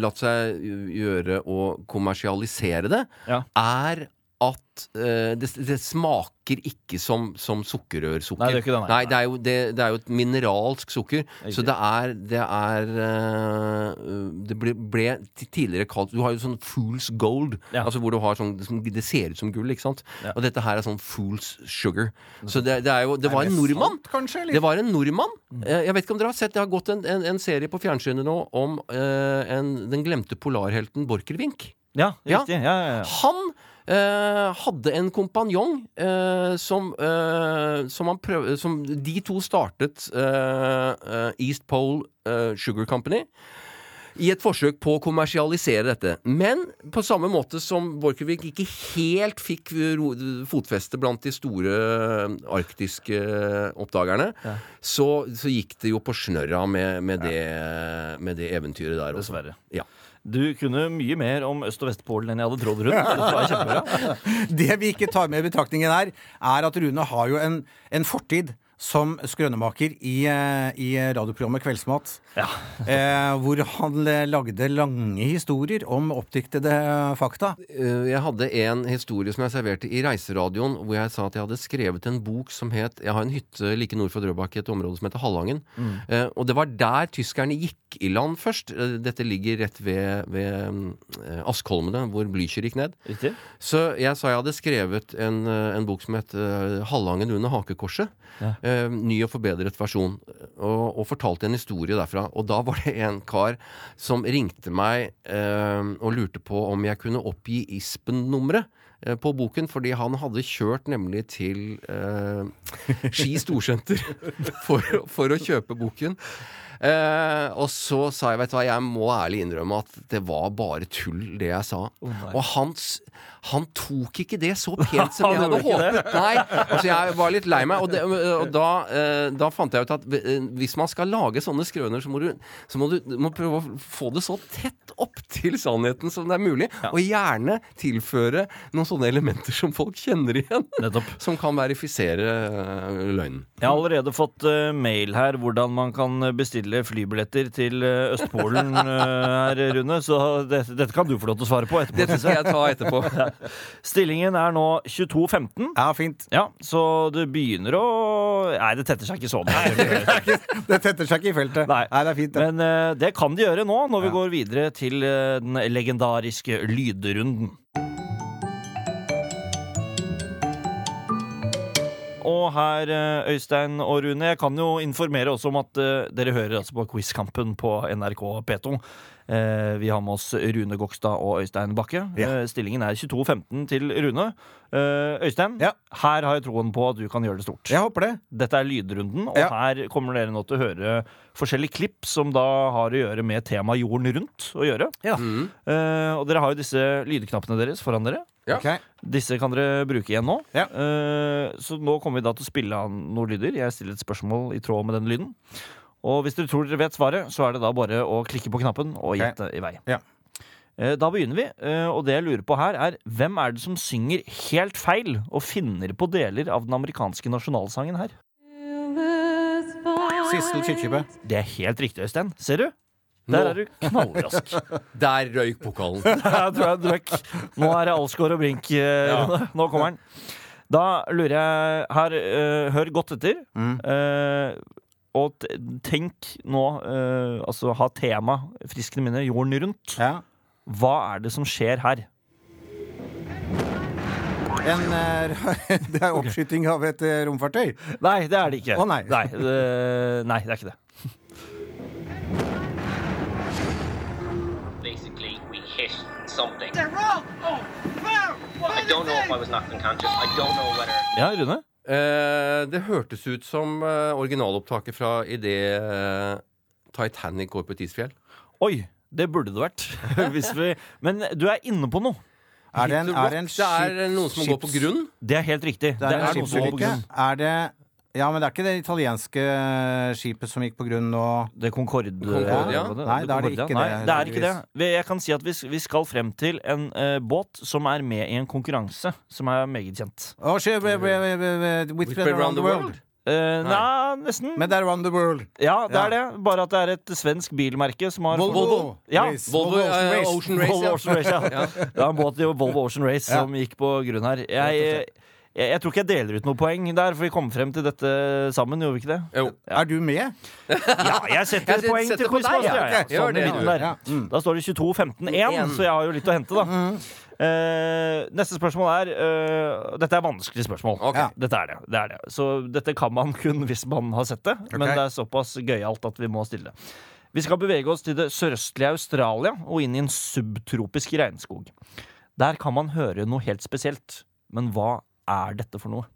B: latt seg gjøre å kommersialisere det,
A: Ja.
B: er at eh, det, det smaker ikke som, som sukkerrørsukker.
A: Nei, det gjør ikke det, nei.
B: det, er jo, det, det er jo et mineralsk sukker.
A: Riktig.
B: Så det er Det, er, eh, det ble, ble ti- tidligere kalt Du har jo sånn fool's gold,
A: Ja.
B: altså hvor du har sånn som- Det ser ut som gull, ikke sant?
A: Ja.
B: Og dette her er sånn fool's sugar. Så det, det er jo Det var en nordmann
C: Kanskje,
B: det
C: eller?
B: var en nordmann. Eh, Jeg vet ikke om dere har sett Det har gått en, en, en serie på fjernsynet nå om eh, en, den glemte polarhelten Borchgrevink.
A: Ja,
B: Ja.
A: riktig. Ja, ja, ja.
B: Han eh, hadde en kompanjong eh, som, eh, som, han prøv, som De to startet eh, eh, East Pole eh, Sugar Company. I et forsøk på å kommersialisere dette. Men på samme måte som Borchgrevink ikke helt fikk ro fotfeste blant de store eh, arktiske eh, oppdagerne,
A: Ja.
B: så, så gikk det jo på snørra med, med, det, eh, med det eventyret der også.
A: Dessverre.
B: Ja.
A: Du kunne mye mer om Øst- og Vestpolen enn jeg hadde [laughs] trodd, Rune. Dette var kjempebra.
C: Det vi ikke tar med i betraktningen her, er at Rune har jo en, en fortid som skrønemaker i, eh, i radioprogrammet Kveldsmat.
A: Ja.
C: Eh, hvor han eh, lagde lange historier om oppdiktede fakta.
B: Eh, Jeg hadde en historie som jeg serverte i reiseradioen, hvor jeg sa at jeg hadde skrevet en bok som het Jeg har en hytte like nord for Drøbak i et område som heter Hallangen. Eh, og det var der tyskerne gikk i land først. Eh, dette ligger rett ved, ved mm, eh, Askholmene, hvor Blücher gikk ned.
A: Riktig.
B: Så jeg sa jeg hadde skrevet en, eh, en bok som het eh, 'Hallangen under hakekorset'.
A: Ja.
B: Eh, ny og forbedret versjon. Eh, Og, og fortalte en historie derfra. Og da var det en kar som ringte meg eh, og lurte på om jeg kunne oppgi ISPEN-nummeret eh, på boken, fordi han hadde kjørt nemlig til eh, Ski Storsenter [laughs] for, å- for å kjøpe boken. Eh, og så sa jeg, vet du hva, jeg må ærlig innrømme at det var bare tull, det jeg sa. og han, s- han tok ikke det
A: [laughs]
B: så pent som
A: Han
B: jeg hadde
A: gjorde ikke det.
B: håpet. Nei, altså jeg var litt lei meg. Og, det, og da, eh, da fant jeg ut at eh, hvis man skal lage sånne skrøner, så må du, så må du du må prøve å få det så tett opp til sannheten som det er mulig. Og gjerne tilføre noen sånne elementer som folk kjenner igjen.
A: Nettopp.
B: Som kan verifisere eh, løgnen.
A: Jeg har allerede fått eh, mail her hvordan man kan eh, bestille flybilletter til eh, Østpolen [laughs] eh, her, Rune. Så dette, dette kan du få lov til å svare på etterpå.
B: Dette skal jeg ta etterpå.
A: Stillingen er nå 22.15.
C: Ja, fint.
A: Ja, så det begynner å Nei, det tetter seg ikke så mye.
C: Det tetter seg ikke i feltet.
A: Nei.
C: det er fint. det.
A: Men eh, det kan de gjøre nå, når vi går videre til eh, den legendariske lydrunden. Og her, eh, Øystein og Rune, jeg kan jo informere også om at eh, dere hører altså på Quizkampen på NRK P2. Eh, Vi har med oss Rune Gokstad og Øystein Bakke.
C: Ja.
A: Eh, Stillingen er 22-15 til Rune. Eh, Øystein,
C: Ja.
A: her har jeg troen på at du kan gjøre det stort.
C: Jeg håper det.
A: Dette er lydrunden, og
C: Ja.
A: her kommer dere nå til å høre forskjellige klipp som da har å gjøre med temaet jorden rundt å gjøre.
B: Mm.
A: Eh, og dere har jo disse lydknappene deres foran dere.
B: Ja.
C: Ok.
A: Disse kan dere bruke igjen nå.
C: Ja.
A: Eh, så nå kommer vi da til å spille av noen lyder. Jeg stiller et spørsmål i tråd med den lyden. Og hvis dere tror dere vet svaret, så er det da bare å klikke på knappen og
C: Ok.
A: gjette i vei.
C: Ja.
A: Eh, Da begynner vi, eh, og det jeg lurer på her er hvem er det som synger helt feil og finner på deler av den amerikanske nasjonalsangen her?
C: Sissel Kyrkjebø.
A: Det er helt riktig, Øystein. Ser du? [laughs] Der
B: Nå.
A: er du knallrask.
B: Der røyk pokalen.
A: Jeg tror jeg drakk. Nå er det Alsgaard og Brink. eh, Rune. Nå kommer han. Da lurer jeg her eh, Hør godt etter. Eh, og t- tenk nå eh, Altså ha tema friskende minne jorden rundt.
C: Ja.
A: Hva er det som skjer her?
C: En, eh, [laughs] det er oppskyting av et eh, romfartøy.
A: Nei, det er det ikke.
C: Å, nei.
A: Nei, eh, nei, det er ikke det.
D: Basically, we hit something.
E: They're wrong! Oh, wow! What
D: I
E: is
D: don't know
E: this?
D: if I was knocked unconscious. I don't know whether.
A: Ja, Rune?
B: Eh, det hørtes ut som eh, originalopptaket fra idet eh, Titanic går på et isfjell.
A: Oi! Det burde det vært. [laughs] Hvis vi, men du er inne på noe.
C: Er det en,
B: Hit the
C: er det en
B: Rock, det er eh,
C: skip-
B: noen som går på
C: skips-
B: grunn.
A: Det er helt riktig.
C: Det er,
B: noe
C: en
A: noe som går på
C: skipsulykke.
A: grunn.
C: Er det Ja, men det er ikke det italienske skipet som gikk på grunn nå
A: Det Concorde... eh,
B: Concordia?
A: Hva det?
C: Nei, det er det
A: Concordia?
C: ikke det,
A: Nei, det er ikke det.
C: heldigvis.
A: Vi- Jeg kan si at vi, s- vi skal frem til en eh, båt som er med i en konkurranse som er meget kjent.
C: Å, shit, we- we- we- we- we- Which way around the world?
A: Eh, nei, nesten.
C: Men det er Around the World.
A: ja, det er det. Bare at det er et svensk bilmerke som har
B: Volvo.
A: Ja.
C: Race.
B: Volvo eh, Ocean Race.
A: Volvo
B: [laughs] ja.
A: Ocean Race, ja. Det er en båt i Volvo Ocean Race som gikk på grunn her. Jeg, jeg, jeg tror ikke jeg deler ut noe poeng der, for vi kom frem til dette sammen, gjorde vi ikke det?
B: [laughs] Jo.
C: Er du med?
A: Ja, jeg setter
B: Jeg
A: poeng
B: setter
A: til
B: på deg,
A: Quizmaster.
B: ja.
A: Ja.
B: Ok, gjør
A: Sånn i
B: det,
A: midten
B: du.
A: der.
C: Ja, mm.
A: Da står det 22-15-1, så jeg har jo litt å hente, da. Eh, neste spørsmål er eh, Dette er vanskelige spørsmål.
B: Ok.
C: Ja.
A: Dette er det, det er det. Så dette kan man kun hvis man har sett det. Men
C: Ok.
A: det er såpass gøyalt at vi må stille det. Vi skal bevege oss til det sørøstlige Australia og inn i en subtropisk regnskog. Der kan man høre noe helt spesielt. Men hva er dette for noe?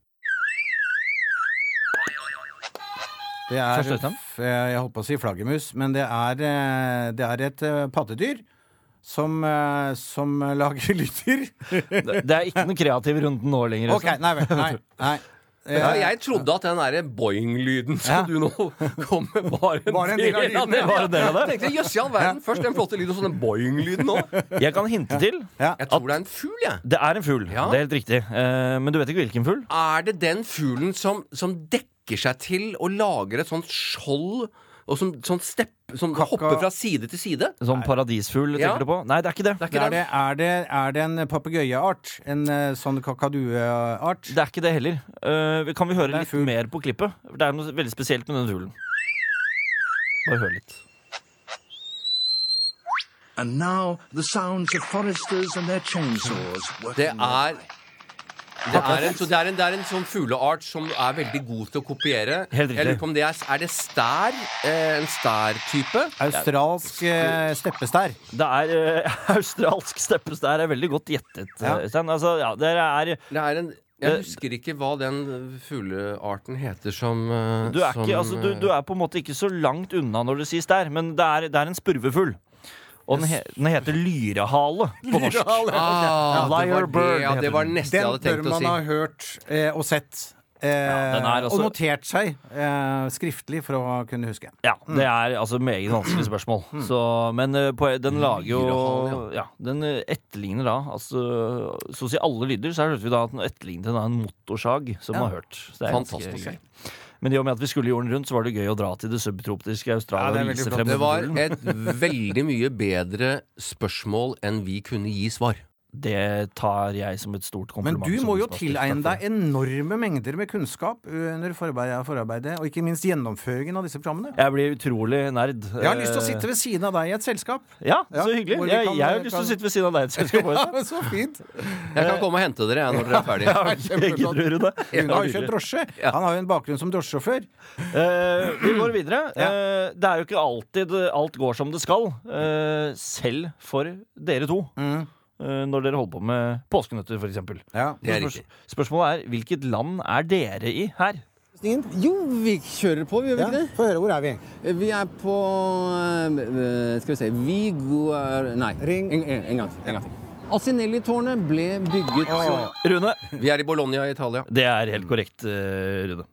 C: Det er
A: Første utnavn?
C: f- eh, Jeg holdt på å si flaggermus, men det er, eh, det er et eh, pattedyr som, eh, som lager [laughs] lyder.
A: Det, det er ikke den kreative runden nå lenger.
C: Ok, nei vel. Nei. nei.
B: Ja,
C: Eh,
B: jeg trodde at den derre boing-lyden som
C: Ja.
B: du nå [laughs] kom med, var en,
C: Var en del av lyden,
B: det.
A: ja. Var en del av det.
B: Jeg tenkte jøss i all verden. Først den flotte lyden, og så den boing-lyden nå.
A: altså. Jeg kan hinte til.
C: ja.
B: Jeg tror det er en fugl, jeg.
A: Det er en fugl.
B: Ja.
A: Det er helt riktig. Eh, men du vet ikke hvilken fugl?
B: Er det den fuglen som, som dekker seg til og lager et sånt skjold, og som, sånn stepp, som hopper fra side til side?
A: Sånn paradisfugl,
B: Ja.
A: tenker du på? Nei, det er ikke det.
B: Det er
C: Det
B: ikke
C: er, det,
B: den.
C: er, det, er det en papegøyeart? En eh, sånn kakadueart?
A: Det er ikke det heller. Eh, kan vi høre
C: er
A: litt
C: fugl.
A: mer på klippet? Det er noe veldig spesielt med denne fuglen. Bare hør litt.
F: And now the sounds of foresters and their chainsaws working
B: Det er det er, en, så det, er en, det er en sånn fugleart som er veldig god til å kopiere.
A: Helt riktig.
B: Jeg lurer på om det er, er det stær? Eh, en stærtype?
C: Australsk eh, steppestær.
A: Det er eh, [laughs] australsk steppes. Det her er veldig godt gjettet,
C: Ja.
A: Øystein. Altså, ja, det er
B: Det er en
A: Det-
B: Jeg husker ikke hva den fuglearten heter som eh,
A: du er,
B: som,
A: ikke, altså, du, du er på en måte ikke så langt unna når du sier stær, men det er, det er en spurvefugl. Og den, he, den heter lyrehale på norsk.
B: Ah, det var
A: Lyre
B: det,
A: bird
B: ja, det
A: heter
B: var
A: den.
B: neste jeg
C: Den
B: hadde
C: bør
B: tenkt å
C: man
B: si.
C: ha hørt eh, og sett. Eh,
A: den er altså-
C: Og notert seg eh, skriftlig for å kunne huske.
A: Ja, det er altså meget vanskelige spørsmål.
C: Mm.
A: Så, men eh, på, den lager jo
B: Lyrehale,
A: ja, Den eh, etterligner da altså, Så å si alle lyder, så hørte vi da at den etterlignet en, en motorsag som man har hørt. Så det er ganske
B: Fantastisk.
A: gøy. Men i og med at vi skulle jorden rundt, så var det gøy å dra til det subtropiske
C: Ja,
A: Australia
C: det er
A: og
C: veldig
A: vise
C: flott.
A: frem
B: Det var
A: fuglen.
B: et veldig mye bedre spørsmål enn vi kunne gi svar.
A: Det tar jeg som et stort
C: Men
A: kompliment.
C: du
A: som
C: må jo
A: Quizmaster.
C: tilegne
A: Takk for
C: deg enorme mengder med kunnskap under forarbeidet, forarbeidet og ikke minst gjennomføringen av disse programmene.
A: det. Jeg blir utrolig nerd. Eh,
C: Jeg har lyst til å sitte ved siden av deg i et [laughs] selskap.
A: Ja,
C: Ja,
A: så hyggelig.
C: hvor vi
A: Jeg,
C: kan-
A: jeg har lyst til å
C: kan-
A: sitte ved siden av deg. Så jeg skal
C: [laughs] Ja,
A: bare...
C: men så fint!
B: Jeg
C: Eh.
B: kan komme og hente dere jeg, når dere er
C: [laughs]
B: ferdige.
A: Gidder du, Rune?
C: Rune har jo kjørt drosje. Han har jo en bakgrunn som drosjesjåfør.
A: Eh, vi går
B: [clears throat]
A: videre. Eh, det er jo ikke alltid alt går som det skal. eh, selv for dere to.
B: Mm.
A: Eh, når dere holder på med påskenøtter, f.eks.
C: Ja.
B: Det er riktig.
A: Spørsmålet er hvilket land er dere i her?
G: Jo, vi kjører på, gjør vi
C: Ja,
G: ikke
C: Få høre, hvor er vi?
G: det? Vi er på eh, Skal vi se Vi går Nei,
C: Ring.
G: en, en, en gang til. En gang til. Asinelli-tårnet ble bygget
B: [laughs]
A: Rune.
B: Vi er i Bologna
G: [laughs]
B: i Italia.
A: Det er helt korrekt, eh, Rune.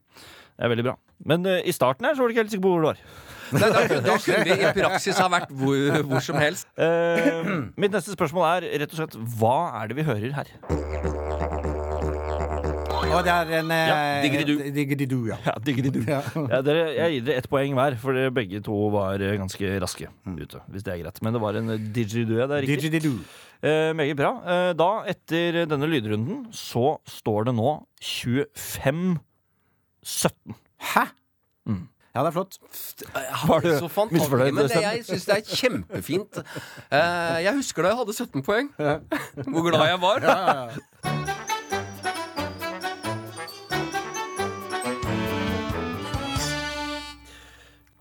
A: Det er veldig bra. Men eh, i starten her så var du ikke helt sikker på hvor du var.
B: Nei, da, kunne- da kunne vi i praksis ha vært hvor, hvor som helst.
A: Eh, [clears throat] mitt neste spørsmål er rett og slett hva er det vi hører her?
C: Og det er en eh,
B: digridu.
C: et- Digridu, ja.
A: Ja, diggeri du. Ja, dere, jeg gir dere ett poeng hver, for dere begge to var eh, ganske raske ute. Hvis det er greit. Men det var en digidue. Det er riktig.
C: Digridu.
A: Eh, meget bra. Eh, da, etter denne lydrunden, så står det nå 25-17.
C: Hæ? Ja, det er flott.
A: Var du
B: Så fantastisk.
A: misfornøyd,
B: Men det,
A: Øystein?
B: jeg syns det er kjempefint. Eh, jeg husker da jeg hadde 17 poeng. Hvor glad jeg var.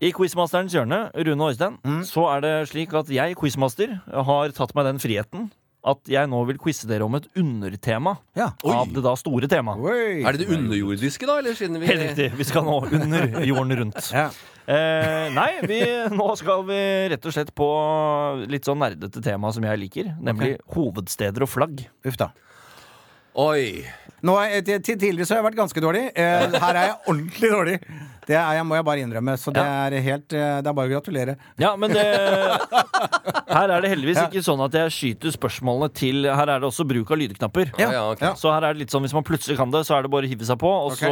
A: I Quizmasterens hjørne, Rune og Øystein, så er det slik at jeg, quizmaster, har tatt meg den friheten at jeg nå vil quize dere om et undertema
C: Ja.
A: av det da store temaet.
C: Oi.
B: Er det det underjordiske, da? Eller siden vi
A: Helt riktig. Vi skal nå under jorden rundt.
C: Ja.
A: Eh, nei, vi, nå skal vi rett og slett på litt sånn nerdete tema som jeg liker. Nemlig hovedsteder og flagg.
C: Uff da.
B: Oi.
C: Nå, er- til til tidligere så har jeg vært ganske dårlig. Eh, her
A: [laughs]
C: er jeg ordentlig dårlig. Det er, jeg må jeg bare innrømme. Så det er helt eh, Det er bare å gratulere.
A: Ja, men det [laughs] Her er det heldigvis ikke sånn at jeg skyter spørsmålene til Her er det også bruk av lydknapper.
B: Ja, ja, ok.
A: Så her er det litt sånn hvis man plutselig kan det, så er det bare å hive seg på. Og
C: Ok.
A: så,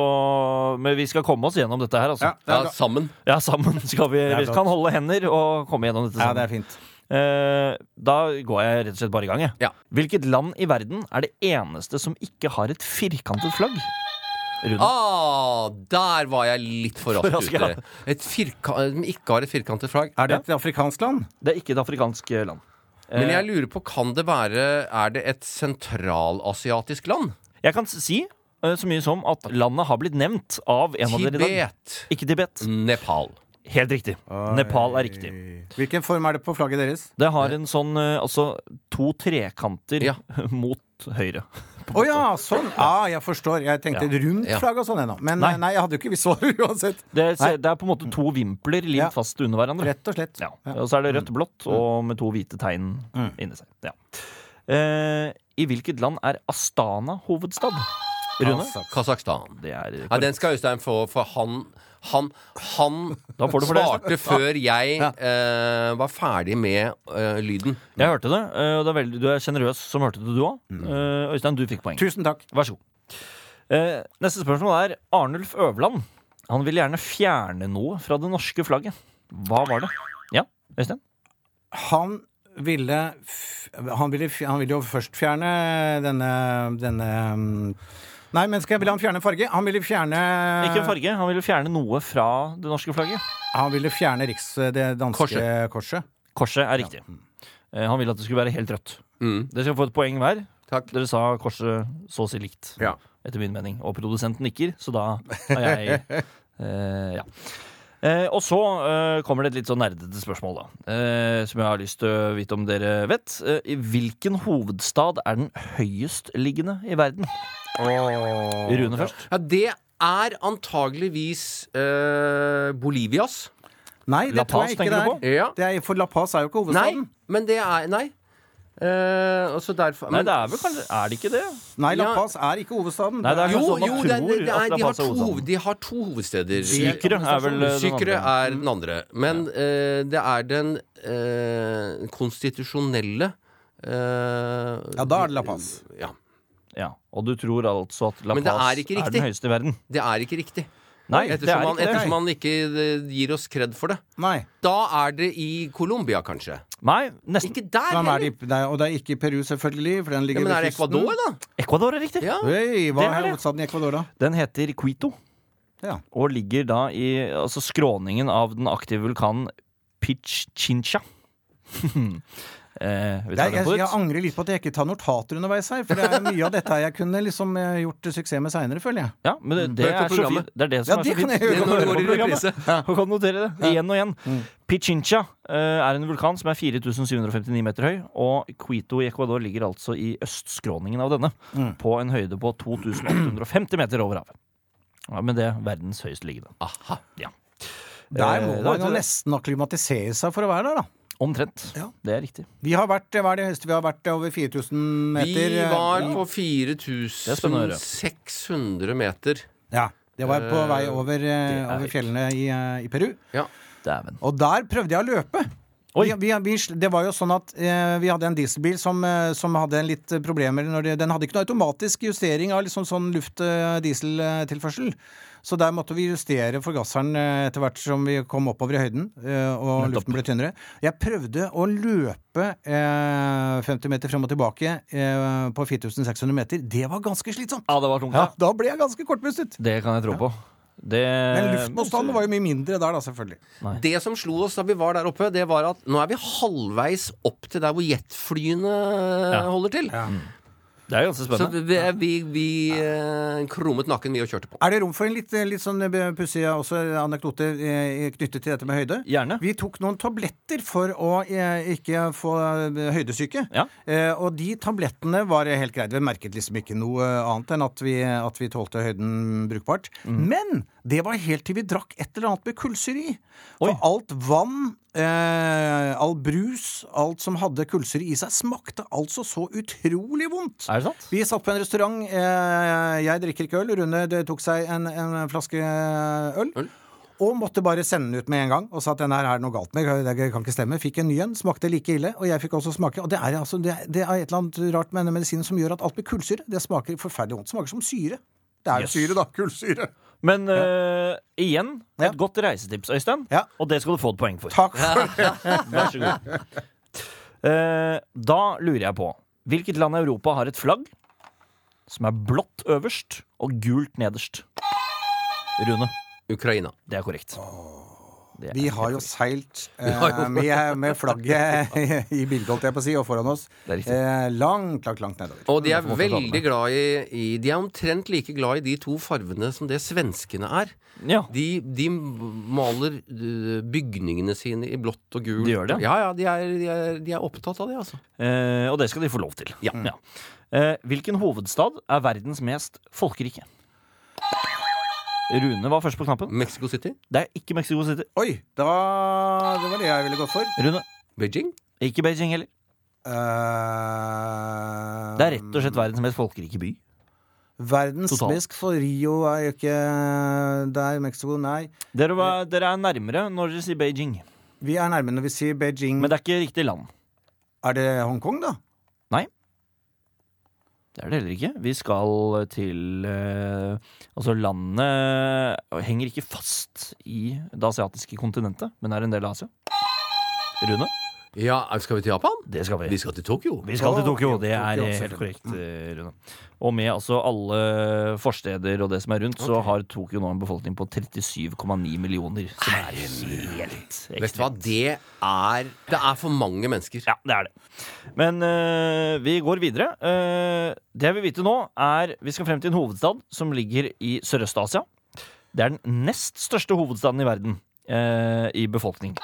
A: men vi skal komme oss gjennom dette her, altså.
C: Ja,
A: Ja,
C: det er
B: Ja,
C: bra.
B: sammen.
A: sammen skal vi
C: er
A: Vi
C: flott.
A: kan holde hender og komme gjennom dette
C: Ja,
A: sammen.
C: det er fint.
A: Eh, da går jeg rett og slett bare i gang, jeg.
B: Ja.
A: Hvilket land i verden er det eneste som ikke har et firkantet flagg? Rune.
B: Ah, der var jeg litt for
A: For rask,
B: raskt
A: ja.
B: ute. Et firka som ikke har et firkantet flagg.
C: Er det et afrikansk land?
A: Det er ikke et afrikansk eh, land.
B: Men jeg lurer på, kan det være Er det et sentralasiatisk land?
A: Jeg kan si eh, så mye som at landet har blitt nevnt av en av dere i dag.
B: Tibet. Mm.
A: Ikke Tibet.
B: Nepal.
A: Helt riktig. Nepal er riktig.
C: Hvilken form er det på flagget deres?
A: Det har en sånn eh, altså to trekanter
B: Ja.
A: [laughs] mot høyre.
C: Å ja, sånn! Ja, jeg forstår. Jeg tenkte
A: Ja.
C: rundt
B: Ja.
C: flagg og sånn ennå. Men
A: Nei.
C: nei. jeg hadde jo ikke visst svaret [laughs] uansett.
A: Det er, det er på en måte to vimpler limt
C: Ja.
A: fast under hverandre.
C: Rett og slett.
A: Ja. Og så er det rødt, blått og med to hvite tegn inni seg. Ja. Eh, I hvilket land er Astana hovedstad? Rune?
C: Altså,
B: Kasakhstan.
A: Det er
B: Ja, den skal Øystein få, for han Han, han
A: Da får du for det, Øystein.
B: svarte før jeg eh, var ferdig med eh, lyden.
A: Jeg hørte det, eh, og det er veldig, du er sjenerøs som hørte det, du òg.
B: Mm.
A: Øystein, du fikk poeng.
C: Tusen takk.
A: Vær så god. Eh, neste spørsmål er Arnulf Øverland. Han vil gjerne fjerne noe fra det norske flagget. Hva var det? Ja, Øystein?
C: Han ville, f- han, ville, f- han ville jo først fjerne denne, denne mm, Nei, men skal jeg ville han fjerne farge? Han ville fjerne
B: Eh.
A: Ikke en farge. Han ville fjerne noe fra det norske flagget.
C: Han ville fjerne riks, eh, det danske korset.
B: Korset.
A: Korset er riktig. Eh, han ville at det skulle være helt rødt.
B: Mm.
A: Dere skal få et poeng hver.
B: Takk.
A: Dere sa korset så å si likt,
B: Ja.
A: etter min mening. Og produsenten nikker, så da er
B: [laughs]
A: jeg eh, Ja. Eh, og så eh, kommer det et litt sånn nerdete spørsmål, da. Eh, som jeg har lyst til å vite om dere vet. Eh, i hvilken hovedstad er den høyestliggende i verden? Rune først.
B: Ja, det er antageligvis eh, Bolivias.
C: Nei, det
A: La Paz
C: tror jeg ikke det
A: tenker du
C: er.
B: Ja.
C: Det er. For La Paz er jo ikke
B: Nei,
C: hovedstaden.
B: men det er Nei. Eh, og så derfor
A: Nei,
B: men-
A: det er vel kanskje Er det ikke det?
C: Nei, La
B: Ja.
C: Paz er ikke hovedstaden.
A: Nei, det er
B: Jo,
A: kanskje sånn
B: jo,
A: man
B: det,
A: tror
B: det,
A: at
B: det er,
A: La
B: de, har
A: Paz er
B: to,
A: hovedstaden.
B: de har to hovedsteder. altså,
A: Sykere er vel eh, den
B: Sykere
A: andre.
B: er den andre. Men eh, det er den eh, konstitusjonelle eh,
C: Ja, da er det La Paz.
B: Ja.
A: Ja, Og du tror altså at La
B: Men det
A: Paz
B: er ikke
A: er
B: riktig.
A: den høyeste i verden?
B: Det er ikke riktig.
A: Nei, det
B: Ettersom
A: er
B: han,
A: ikke det.
B: ettersom han ikke eh, gir oss kred for det.
C: Nei.
B: Da er det i Colombia, kanskje.
A: Nei, nesten.
B: Ikke der,
C: Hvem er
B: heller!
C: de, nei, og det er ikke i Peru, selvfølgelig. For den
B: Ja,
C: ligger
B: men er
C: ved
B: det
C: kysten.
B: Ecuador, da?
A: Ecuador er riktig.
B: Ja.
C: Oi, hva
A: Det er
C: er
A: det.
C: hovedstaden i Ecuador, da?
A: Den heter Quito
C: Ja.
A: og ligger da i altså, skråningen av den aktive vulkanen Pichincha. [laughs] eh, vet du hva
C: Jeg,
A: den
C: jeg,
A: får
C: jeg
A: ut?
C: angrer litt på at jeg ikke tar notater underveis her, for det er mye av dette jeg kunne liksom eh, gjort suksess med seinere, føler jeg.
A: Ja, men det, det
B: Hør på
A: er så
B: programmet.
A: fint. Det er det
C: Ja,
A: som
C: det
A: er så
C: kan
A: fint.
C: jeg gjøre.
A: Det når du
B: Når
A: hører
B: det
A: på
B: går i
A: programmet.
B: reprise.
A: Og kan notere det igjen og igjen.
C: Mm.
A: Pichincha eh, er en vulkan som er 4759 meter høy, og Quito i Ecuador ligger altså i østskråningen av denne,
C: Mm.
A: på en høyde på 2850 meter over havet. Ja, men det er verdens høyest liggende.
B: Aha.
A: Ja.
C: Der må
A: Eh,
C: man
A: da-
C: jo nesten akklimatisere seg for å være der, da.
A: Omtrent.
C: Ja.
A: Det er riktig.
C: Vi har vært, Hva er det høyeste vi har vært? eh, Over 4000 meter?
B: Vi
C: eh,
B: var på
A: er spennende å høre.
B: 4600 meter.
C: Ja. Det var på vei over, eh,
A: det er
C: over fjellene i, eh, i Peru.
B: Ja.
A: Dæven.
C: Og der prøvde jeg å løpe.
A: Oi.
C: Vi, vi, vi, det var jo sånn at eh, vi hadde en dieselbil som, eh, som hadde en litt eh, problemer når det, Den hadde ikke noe automatisk justering av liksom sånn luft-dieseltilførsel. Så der måtte vi justere forgasseren eh, etter hvert som vi kom oppover i høyden. eh, og
A: Nettopp.
C: luften ble tynnere. Jeg prøvde å løpe eh, 50 meter frem og tilbake eh, på 4600 meter. Det var ganske slitsomt.
A: Ja, det var tungt.
C: Ja,
A: da.
C: da ble jeg ganske kortpustet.
A: Det kan jeg tro på. Det
C: Men luftmotstanden var jo mye mindre der, da, selvfølgelig.
B: Det som slo oss da vi var der oppe, det var at nå er vi halvveis opp til der hvor jetflyene eh, holder til.
A: Det er ganske
B: Så
A: spennende.
B: vi, vi, vi eh, krummet nakken, vi, og kjørte på.
C: Er det rom for en litt, litt sånn eh, pussig eh, også anekdote eh, knyttet til dette med høyde?
A: Gjerne.
C: Vi tok noen tabletter for å eh, ikke få eh, høydesyke.
A: Ja.
C: Eh, og de tablettene var helt greit. Vi merket liksom ikke noe eh, annet enn at vi, at vi tålte høyden
A: Mhm.
C: brukbart. Men det var helt til vi drakk et eller annet med kullsyre i. For alt vann eh, all brus, alt som hadde kullsyre i seg, smakte altså så utrolig vondt.
A: Er det sant?
C: Vi satt på en restaurant. Eh, jeg drikker ikke øl. Rune det tok seg en, en flaske eh, øl. Og måtte bare sende den ut med en gang og sa at den her er det noe galt med. Det kan ikke stemme. Fikk en ny en. Smakte like ille. Og jeg fikk også smake. Og det er, altså, det, er- det er et eller annet rart med denne medisinen som gjør at alt med kullsyre, det smaker forferdelig vondt. Smaker som syre. Det er jo
A: Yes.
C: syre, da. Kullsyre.
A: Men eh, igjen, et
C: Ja.
A: godt reisetips, Øystein.
C: Ja.
A: Og det skal du få et poeng for.
C: Takk for
A: Vær så god.
C: [laughs]
A: Eh, da lurer jeg på hvilket land i Europa har et flagg som er blått øverst og gult nederst? Rune.
B: Ukraina.
A: Det er korrekt. Det er
C: Vi har jo
A: helt korrekt. [laughs]
C: seilt eh, med, med flagget i bildet, holdt jeg på å si, og foran oss.
A: Det er riktig.
C: Eh, langt, langt, langt nedover.
B: Og de er
A: man forklare
B: veldig
A: det.
B: glad i, i De er omtrent like glad i de to farvene som det svenskene er.
A: ja.
B: De, de maler øh, bygningene sine i blått og gult.
A: De gjør det,
B: Ja, ja, de er, de, er, de er opptatt av det, altså.
A: Eh, og det skal de få lov til.
B: Ja.
A: Eh, hvilken hovedstad er verdens mest folkerike? Rune var først på knappen.
B: Mexico City?
A: Det er ikke Mexico City.
C: Oi! Da, det var det jeg ville gått for.
A: Rune,
B: Beijing?
A: ikke Beijing heller.
C: Eh,
A: Det er rett og slett verdens mest folkerike by.
C: Verdens
A: Totalt.
C: best for Rio er jo ikke der. Mexico, nei.
A: Dere, var, dere er nærmere når dere sier Beijing.
C: Vi er nærme når vi sier Beijing.
A: Men det er ikke riktig land.
C: Er det Hongkong, da?
A: Det er det heller ikke. Vi skal til eh, Altså, landet eh, henger ikke fast i det asiatiske kontinentet, men er en del av Asia. Rune,
B: Ja, skal vi til Japan?
A: det skal vi.
B: Vi skal til Tokyo.
A: Vi skal til Tokyo, det er
C: Tokyo,
A: helt
C: selvfølgelig.
A: korrekt,
B: Mm.
A: eh, Rune. Og med altså alle forsteder og det som er rundt, så har Tokyo nå en befolkning på 37,9 millioner. Som er helt
B: Vet du hva,
A: ekstremt.
B: det er Det er for mange mennesker.
A: Ja, det er det. Men eh, vi går videre. Eh, det jeg vil vite nå, er Vi skal frem til en hovedstad som ligger i Sørøst-Asia. Det er den nest største hovedstaden i verden eh, i befolkning.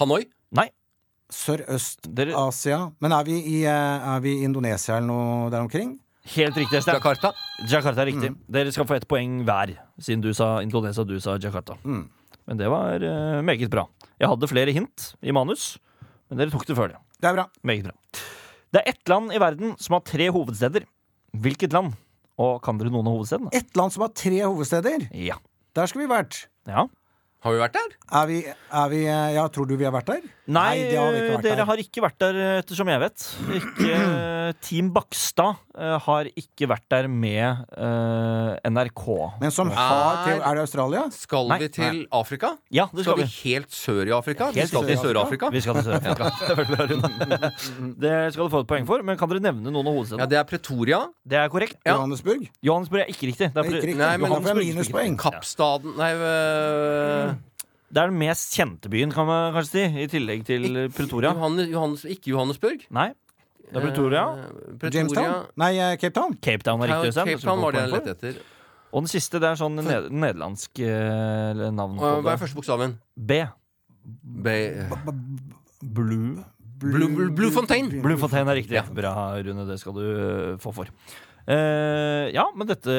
B: Hanoi?
A: Nei, dere
C: Sørøst-Asia. Men er vi, i, eh, er vi i Indonesia eller noe der omkring?
A: Helt riktig, Øystein.
B: Jakarta?
A: Jakarta er
C: Mm.
A: riktig. Dere skal få ett poeng hver, siden du sa Indonesia og du sa Jakarta.
C: Mm.
A: Men det var eh, meget bra. Jeg hadde flere hint i manus, men dere tok det før det.
C: Det er bra.
A: Meget bra. Det er ett land i verden som har tre hovedsteder. Hvilket land? Og kan dere noen av hovedstedene?
C: Et land som har tre hovedsteder.
A: Ja.
C: Der skulle vi vært.
A: ja.
B: Har vi vært der?
C: Er vi, er vi eh, Ja, tror du vi har vært der?
A: Nei,
C: det har vi ikke vært
A: dere
C: der.
A: har ikke vært der, eh, ettersom jeg vet. Ikke, eh, Team Bakstad eh, har ikke vært der med eh, NRK.
C: Men som har til Er det Australia?
B: Skal vi til Afrika?
A: Ja, det
B: Skal
A: skal
B: vi
A: vi.
B: helt sør i Afrika? Vi
A: Helt
B: skal til Sør-Afrika?
A: Vi skal til Sør-Afrika. Det var bra, Rune. [laughs] Det skal du få et poeng for, men kan dere nevne noen av
B: Ja,
A: hovedstedene?
B: det er Pretoria.
A: Det er korrekt.
C: Johannesburg?
A: Johannesburg er ikke riktig. Det er,
C: Ikke riktig.
A: pre-
B: Nei,
C: du
B: men
C: har fått minuspoeng.
B: Kappstaden Nei, øh,
A: det er den mest kjente byen, kan man kanskje si, i tillegg til Pretoria.
B: Johannes, Johannes, ikke Johannesburg.
A: Nei, det er Pretoria.
B: Eh, Pretoria.
C: Jamestown? Nei, eh, Cape Town.
A: Cape Town er
B: Ja,
A: riktig. Øystein.
B: Cape
A: Det skal
B: Town
A: du få
B: var det jeg
A: poeng for.
B: lette etter.
A: Og den siste, det er sånn ned nederlandsk eh, navn
B: Og Hva
A: på
B: er
A: det.
B: første bokstaven?
A: B.
B: Be-
A: Blue.
B: Blue, Blue, Blue Fontaine.
A: Blue Fontaine er riktig.
B: Ja.
A: Bra, Rune. Det skal du eh, få for. Eh, ja, men dette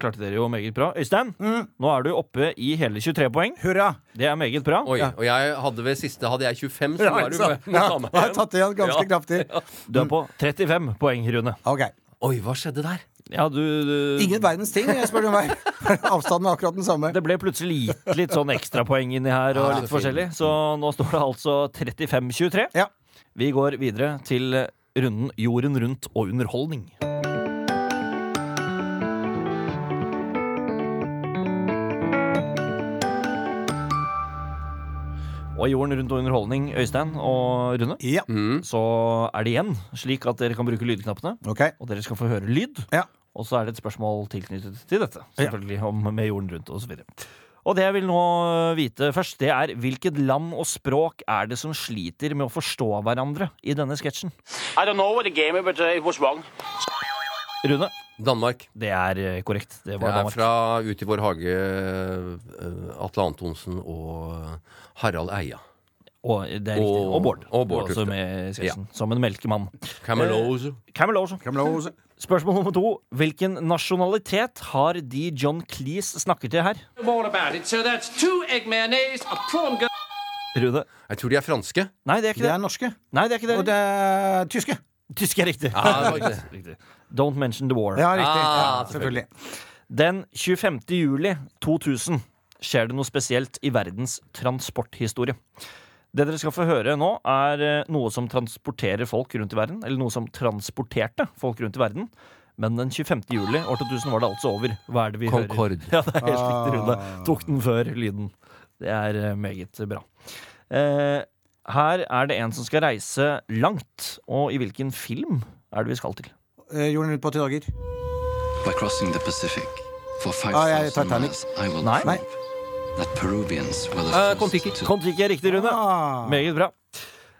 A: klarte dere jo meget bra. Øystein,
B: Mm.
A: nå er du oppe i hele 23 poeng.
C: Hurra!
A: Det er meget bra.
B: Oi, og jeg hadde ved siste hadde jeg 25, så
C: Ja,
B: nå er du
C: ikke sant?
B: må ta
C: Ja,
B: med
C: jeg har tatt igjen ganske
B: Ja.
C: kraftig.
A: Du er på 35 poeng, Rune.
C: Ok.
B: Oi, hva skjedde der?
A: Ja, du, du
C: Ingen verdens ting, jeg spør om hver. [laughs] Avstanden er akkurat den samme.
A: Det ble plutselig litt, litt sånn ekstrapoeng inni her og
B: Ja,
A: litt
B: fin.
A: forskjellig. Så nå står det altså 35-23.
C: Ja.
A: Vi går videre til runden Jorden rundt og underholdning. Og i Jorden rundt og underholdning, Øystein og Rune,
C: Ja.
B: Mm.
A: så er det igjen slik at dere kan bruke lydknappene.
C: Ok.
A: Og dere skal få høre lyd.
C: Ja.
A: Og så er det et spørsmål tilknyttet til dette. Selvfølgelig om med jorden rundt og så videre. Og det jeg vil nå vite først, det er hvilket land og språk er det som sliter med å forstå hverandre i denne sketsjen?
H: I don't know what the game is, but uh, it was wrong.
A: Rune,
B: Danmark.
A: det er eh, korrekt. Det
B: Det
A: var
B: er
A: Danmark.
B: fra Ut i vår hage, eh, Atle Antonsen og Harald Eia.
A: Og, eh, det er riktig.
B: Og-
A: og Bård.
B: og Bård
A: Du er også
B: Tufte.
A: med i sketsjen. Som en melkemann.
B: Camelose.
A: Camel Ocean. Spørsmål nummer to. Hvilken nasjonalitet har de John Cleese snakker til her?
H: All about it. So that's two egg mayonnaise, a prawn go-
A: Rune?
B: Jeg tror de er franske.
A: Nei, det er ikke
C: De
A: det.
C: er norske.
A: Nei, det er ikke det.
C: Og det er tyske.
A: Tysk er riktig.
B: Ja, det var [laughs] det.
A: riktig. Don't mention the war.
C: Ja, riktig.
B: Ah,
C: ja, selvfølgelig.
A: Den 25. juli 2000 skjer det noe spesielt i verdens transporthistorie. Det dere skal få høre nå, er eh, noe som transporterer folk rundt i verden. Eller noe som transporterte folk rundt i verden. Men den 25. juli år 2000 var det altså over. Hva er det vi
B: Concorde.
A: hører? [laughs] Ja, det er helt riktig, Rune. Tok den før lyden. Det er eh, meget bra. Eh, her er det en som skal reise langt. Og i hvilken film er det vi skal til?
C: Eh, Jorden rundt på åtte dager.
I: By crossing the Pacific for
C: yeah,
I: 5,000
C: Titanic.
I: miles, I will
A: Nei.
I: prove that Peruvians were the
A: Uh,
B: Eh,
I: first
B: Kon-Tiki.
I: to
A: Kon-Tiki er riktig, Rune.
C: Ah.
A: Meget bra.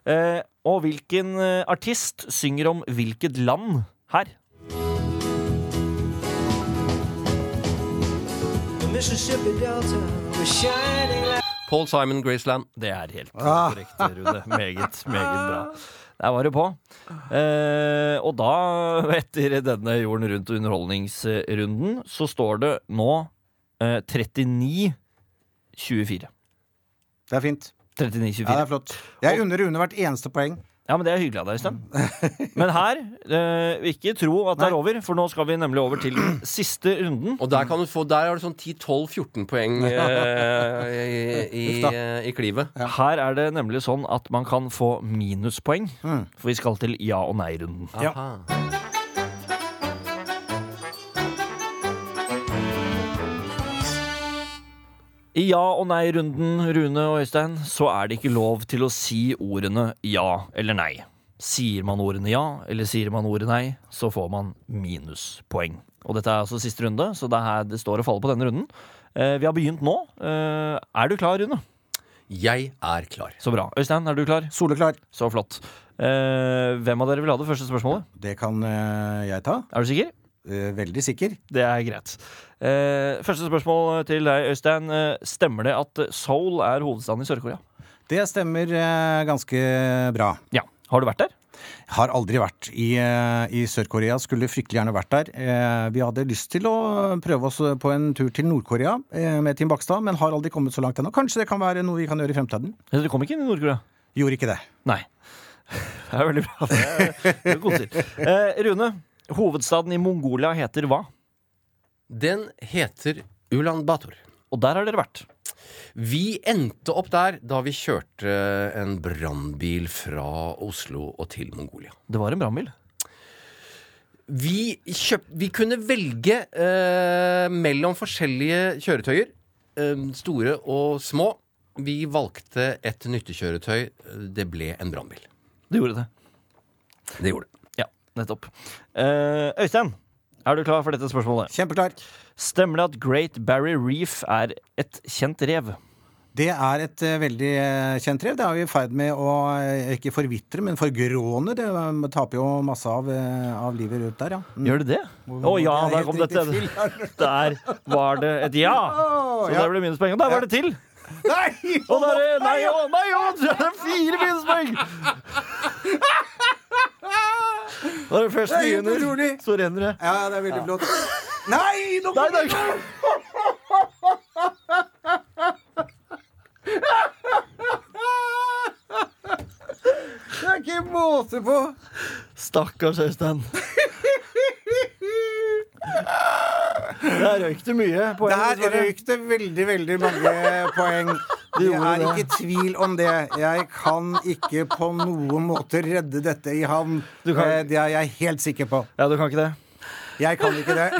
A: Eh, og hvilken eh, artist synger om hvilket land her?
B: Paul Simon Graceland.
A: Det er helt
C: Ah.
A: korrekt, Rune. Meget, meget bra. Der var du på. Eh, og da, etter denne Jorden rundt underholdningsrunden, så står det nå eh, 39-24.
C: Det er fint. Ja, det
A: 39-24.
C: er flott. Jeg unner Rune hvert eneste poeng.
A: Ja, men det er hyggelig av deg, Øystein. Men her, eh, ikke tro at det er over, for nå skal vi nemlig over til den siste runden.
B: Og der, kan du få, der er det sånn 10-12-14 [laughs] poeng eh, i, i, eh, i klivet.
A: Her er det nemlig sånn at man kan få minuspoeng, for vi skal til ja- og nei-runden.
B: Aha.
A: I ja- og nei-runden, Rune og Øystein, så er det ikke lov til å si ordene ja eller nei. Sier man ordene ja, eller sier man ordet nei, så får man minuspoeng. Og dette er altså siste runde, så det er her det står og faller på denne runden. Eh, vi har begynt nå. Eh, er du klar, Rune?
B: Jeg er klar.
A: Så bra. Øystein, er du klar?
C: Soleklar.
A: Så flott. Eh, hvem av dere vil ha det første spørsmålet?
C: Det kan eh, jeg ta.
A: Er du sikker?
C: Eh, veldig sikker.
A: Det er greit. Eh, første spørsmål til deg, Øystein. Eh, Stemmer det at Seoul er hovedstaden i Sør-Korea?
C: Det stemmer eh, ganske bra.
A: Ja. Har du vært der?
C: Har aldri vært i, eh, i Sør-Korea. Skulle fryktelig gjerne vært der. Eh, Vi hadde lyst til å prøve oss på en tur til Nord-Korea eh, med Team Bakstad, men har aldri kommet så langt ennå. Kanskje det kan være noe vi kan gjøre i fremtiden.
A: Du kom ikke inn i Nord-Korea?
C: Gjorde ikke det.
A: Nei. [laughs] Det er veldig bra. Det er, det er god tid. Eh, Rune, hovedstaden i Mongolia heter hva?
B: Den heter Ulan Bator.
A: Og der har dere vært.
B: Vi endte opp der da vi kjørte en brannbil fra Oslo og til Mongolia.
A: Det var en brannbil.
B: Vi, kjøp, vi kunne velge eh, mellom forskjellige kjøretøyer. eh, store og små. Vi valgte et nyttekjøretøy. Det ble en brannbil.
A: Det gjorde det.
B: Det gjorde det.
A: Ja, nettopp. Eh, Øystein, er du klar for dette spørsmålet?
C: Kjempeklar.
A: Stemmer det at Great Barry Reef er et kjent rev?
C: Det er et eh, veldig eh, kjent rev. Det er jo i ferd med å eh, ikke forvitre, men forgråne. Det eh, taper jo masse av, eh, av livet rundt der, ja. Mm.
A: Gjør det det? Å ja, der kom dette. Der var det et ja. Så der ble det minuspoeng. Og der var det til!
C: [laughs] Nei!
A: Og da er det nei og nei og det er fire minuspoeng! Da er det først
C: Det er helt
A: begynner,
C: utrolig.
A: så renner det.
C: Ja, det er veldig flott. Nei!
A: Nei,
C: Nå kom
A: det er ikke
C: det er ikke måte på!
A: Stakkars Øystein. Der røyk det mye. Poeng,
C: Der
A: dessverre.
C: røyk det veldig, veldig mange [laughs] poeng. Det
A: gjorde
C: er ikke tvil om det. Jeg kan ikke på noen måte redde dette i havn.
A: Du kan-
C: Eh, Det er jeg helt sikker på.
A: Ja, du kan ikke det?
C: Jeg kan ikke det.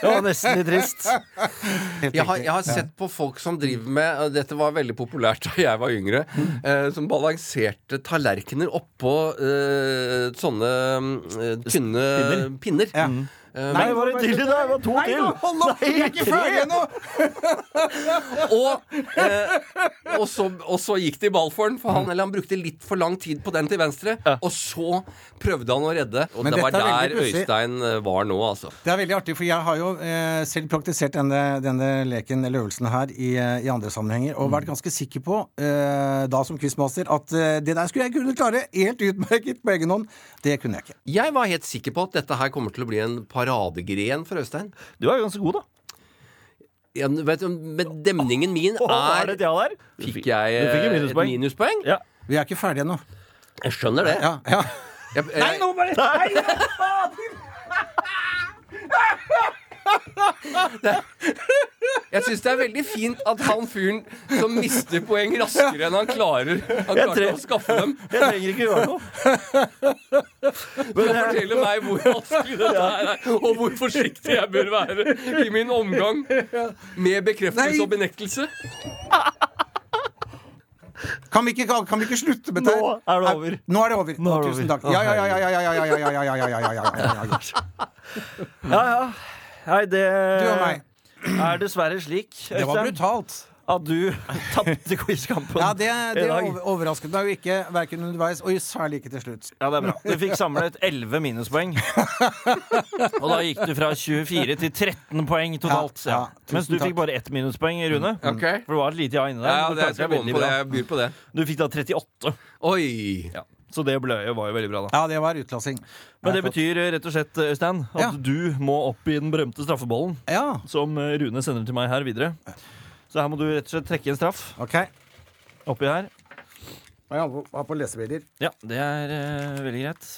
A: Det var nesten litt trist.
B: Jeg har, jeg har sett på folk som driver med og Dette var veldig populært da jeg var yngre. eh, som balanserte tallerkener oppå eh, sånne eh, tynne pinner.
C: Ja.
B: Eh,
A: Nei, var det til i dag? Det var to
C: Nei,
A: til.
C: nå, hold opp! Jeg er ikke ferdig ennå!
B: Og, eh, og, så, og så gikk det i ball for han, for han, eller han brukte litt for lang tid på den til venstre. Og så prøvde han å redde. Og
C: Men
B: det var
C: dette er
B: der
C: veldig pussig.
B: Øystein eh, var nå, altså.
C: Det er veldig artig, for jeg har jo eh, selv praktisert denne, denne leken eller øvelsen her i, eh, i andre
A: Mm.
C: sammenhenger, og vært ganske sikker på, eh, da som quizmaster, at eh, det der skulle jeg kunne klare helt utmerket på egen hånd. Det kunne jeg ikke.
B: Jeg var helt sikker på at dette her kommer til å bli en paradegren for Øystein.
A: Du er jo ganske god, da.
B: ja, vet du, med demningen min
A: Å, er
B: er
A: det det han er? Du
B: Fikk jeg
A: fikk
B: eh,
A: en
B: et
A: minuspoeng.
B: minuspoeng?
A: Ja.
C: Vi er ikke ferdige ennå.
B: Jeg skjønner det.
C: Ja, ja.
B: Jeg,
C: Nei, nå bare Nei, nå fader!
B: jeg syns det er veldig fint at han fyren som mister poeng raskere enn han klarer Han klarte
A: tre-
B: å skaffe dem.
A: Jeg trenger ikke gjøre
C: [laughs]
A: noe. eh,
B: Kan fortelle meg hvor vanskelig dette her er, og hvor forsiktig jeg bør være i min omgang med bekreftelse
C: Nei.
B: og benektelse.
C: Kan vi, ikke, kan vi ikke slutte med det?
A: Nå er det over.
C: Nå er det over.
A: Nå er det
C: Tusen
A: over.
C: takk. Ja, ja, ja, ja, ja, ja, ja, ja, ja, ja, ja, ja, ja, ja, ja.
A: Ja, ja. Nei, det
C: Du og meg.
A: er dessverre slik
C: Det var
A: Øystein,
C: brutalt.
A: at du [laughs] tapte quizkampen
C: Ja, det,
A: i
C: det
A: dag.
C: over- overrasket meg jo ikke, verken underveis og særlig ikke til slutt.
A: Ja, det er bra. Du fikk samlet 11
C: [laughs]
A: minuspoeng. Og da gikk du fra 24 til 13 poeng totalt.
C: Ja, ja.
A: Ja. Mens du
C: Tusen takk.
A: fikk bare ett minuspoeng, Rune.
B: Ok.
A: For det var et lite ja inni der.
B: Ja,
A: men du
B: det, jeg
A: klarte
B: skal
A: deg
B: gå
A: veldig
B: med på det.
A: bra.
B: Jeg byr på det.
A: Du fikk da 38.
B: Oi.
A: Så det bløye var jo veldig bra, da.
C: Ja, det var utklassing.
A: Men det betyr eh, rett og slett, Øystein, at
C: Ja.
A: du må opp i den berømte straffebollen.
C: Ja,
A: Som eh, Rune sender til meg her videre. Så her må du rett og slett trekke en straff
C: ok. Jeg
A: oppi her.
C: har på lesebilder.
A: Ja, det er eh, veldig greit.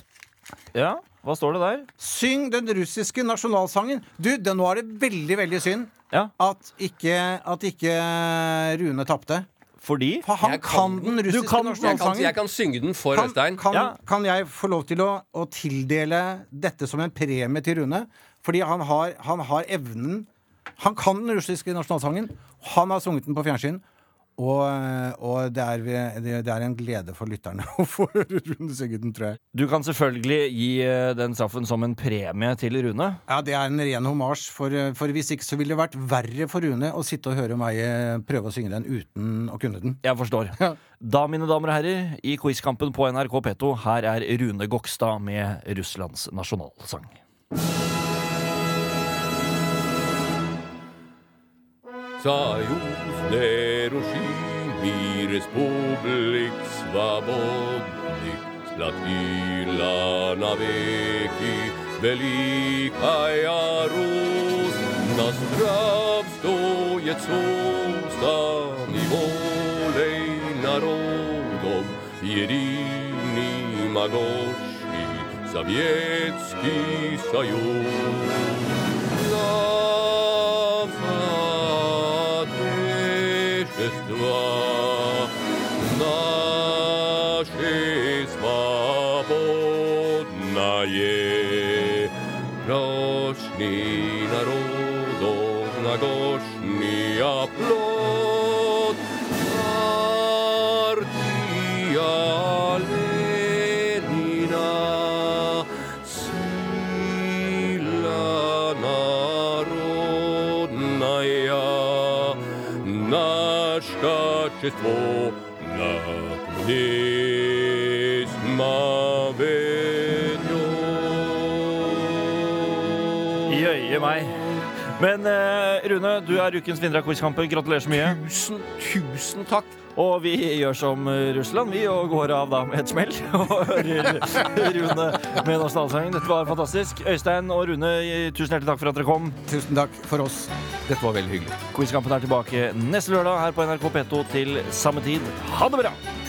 A: Ja, hva står det der?
C: Syng den russiske nasjonalsangen. Du, det, nå er det veldig, veldig synd
A: Ja,
C: at ikke, at ikke Rune tapte.
A: fordi
C: For han
B: Jeg kan
C: kan, den russiske
A: kan-
B: Jeg kan, jeg
C: nasjonalsangen.
B: kan synge den for
C: Kan,
B: Øystein.
C: kan,
A: Ja.
C: kan jeg få lov til å, å tildele dette som en premie til Rune? Fordi han har, han har evnen Han kan den russiske nasjonalsangen. Han har sunget den på fjernsyn. Og, og det, er, det er en glede for lytterne [laughs] å få høre Rune synge den, tror jeg.
A: Du kan selvfølgelig gi eh, den straffen som en premie til Rune.
C: Ja, Det er en ren homasj, for, for hvis ikke så ville det vært verre for Rune å sitte og høre meg eh, prøve å synge den uten å kunne den.
A: Jeg forstår. [laughs] Da, mine damer og herrer, i quizkampen på NRK P2, her er Rune Gokstad med Russlands nasjonalsang.
B: Союз нерушимый республик свободных, Сплотила навеки великая Русь. На здравствует сустан и волей народов единый могощий Советский Союз. Слава Отечества нашей свободное, Прочный народов нагошный оплот, Партия Ленина, Сила народная, наш качество на пнесьма
A: Jøye meg. Men eh, Rune, du er ukens vinner av quizkampen. Gratulerer så mye.
B: Tusen, tusen takk.
A: Og vi gjør som eh, Russland, vi, og går av da med et smell. [laughs] Og hører Rune med nasjonalsangen. Dette var fantastisk. Øystein og Rune, tusen hjertelig takk for at dere kom.
C: Tusen takk for oss.
B: Dette var veldig hyggelig.
A: Quizkampen er tilbake neste lørdag her på NRK P2 til samme tid. Ha det bra!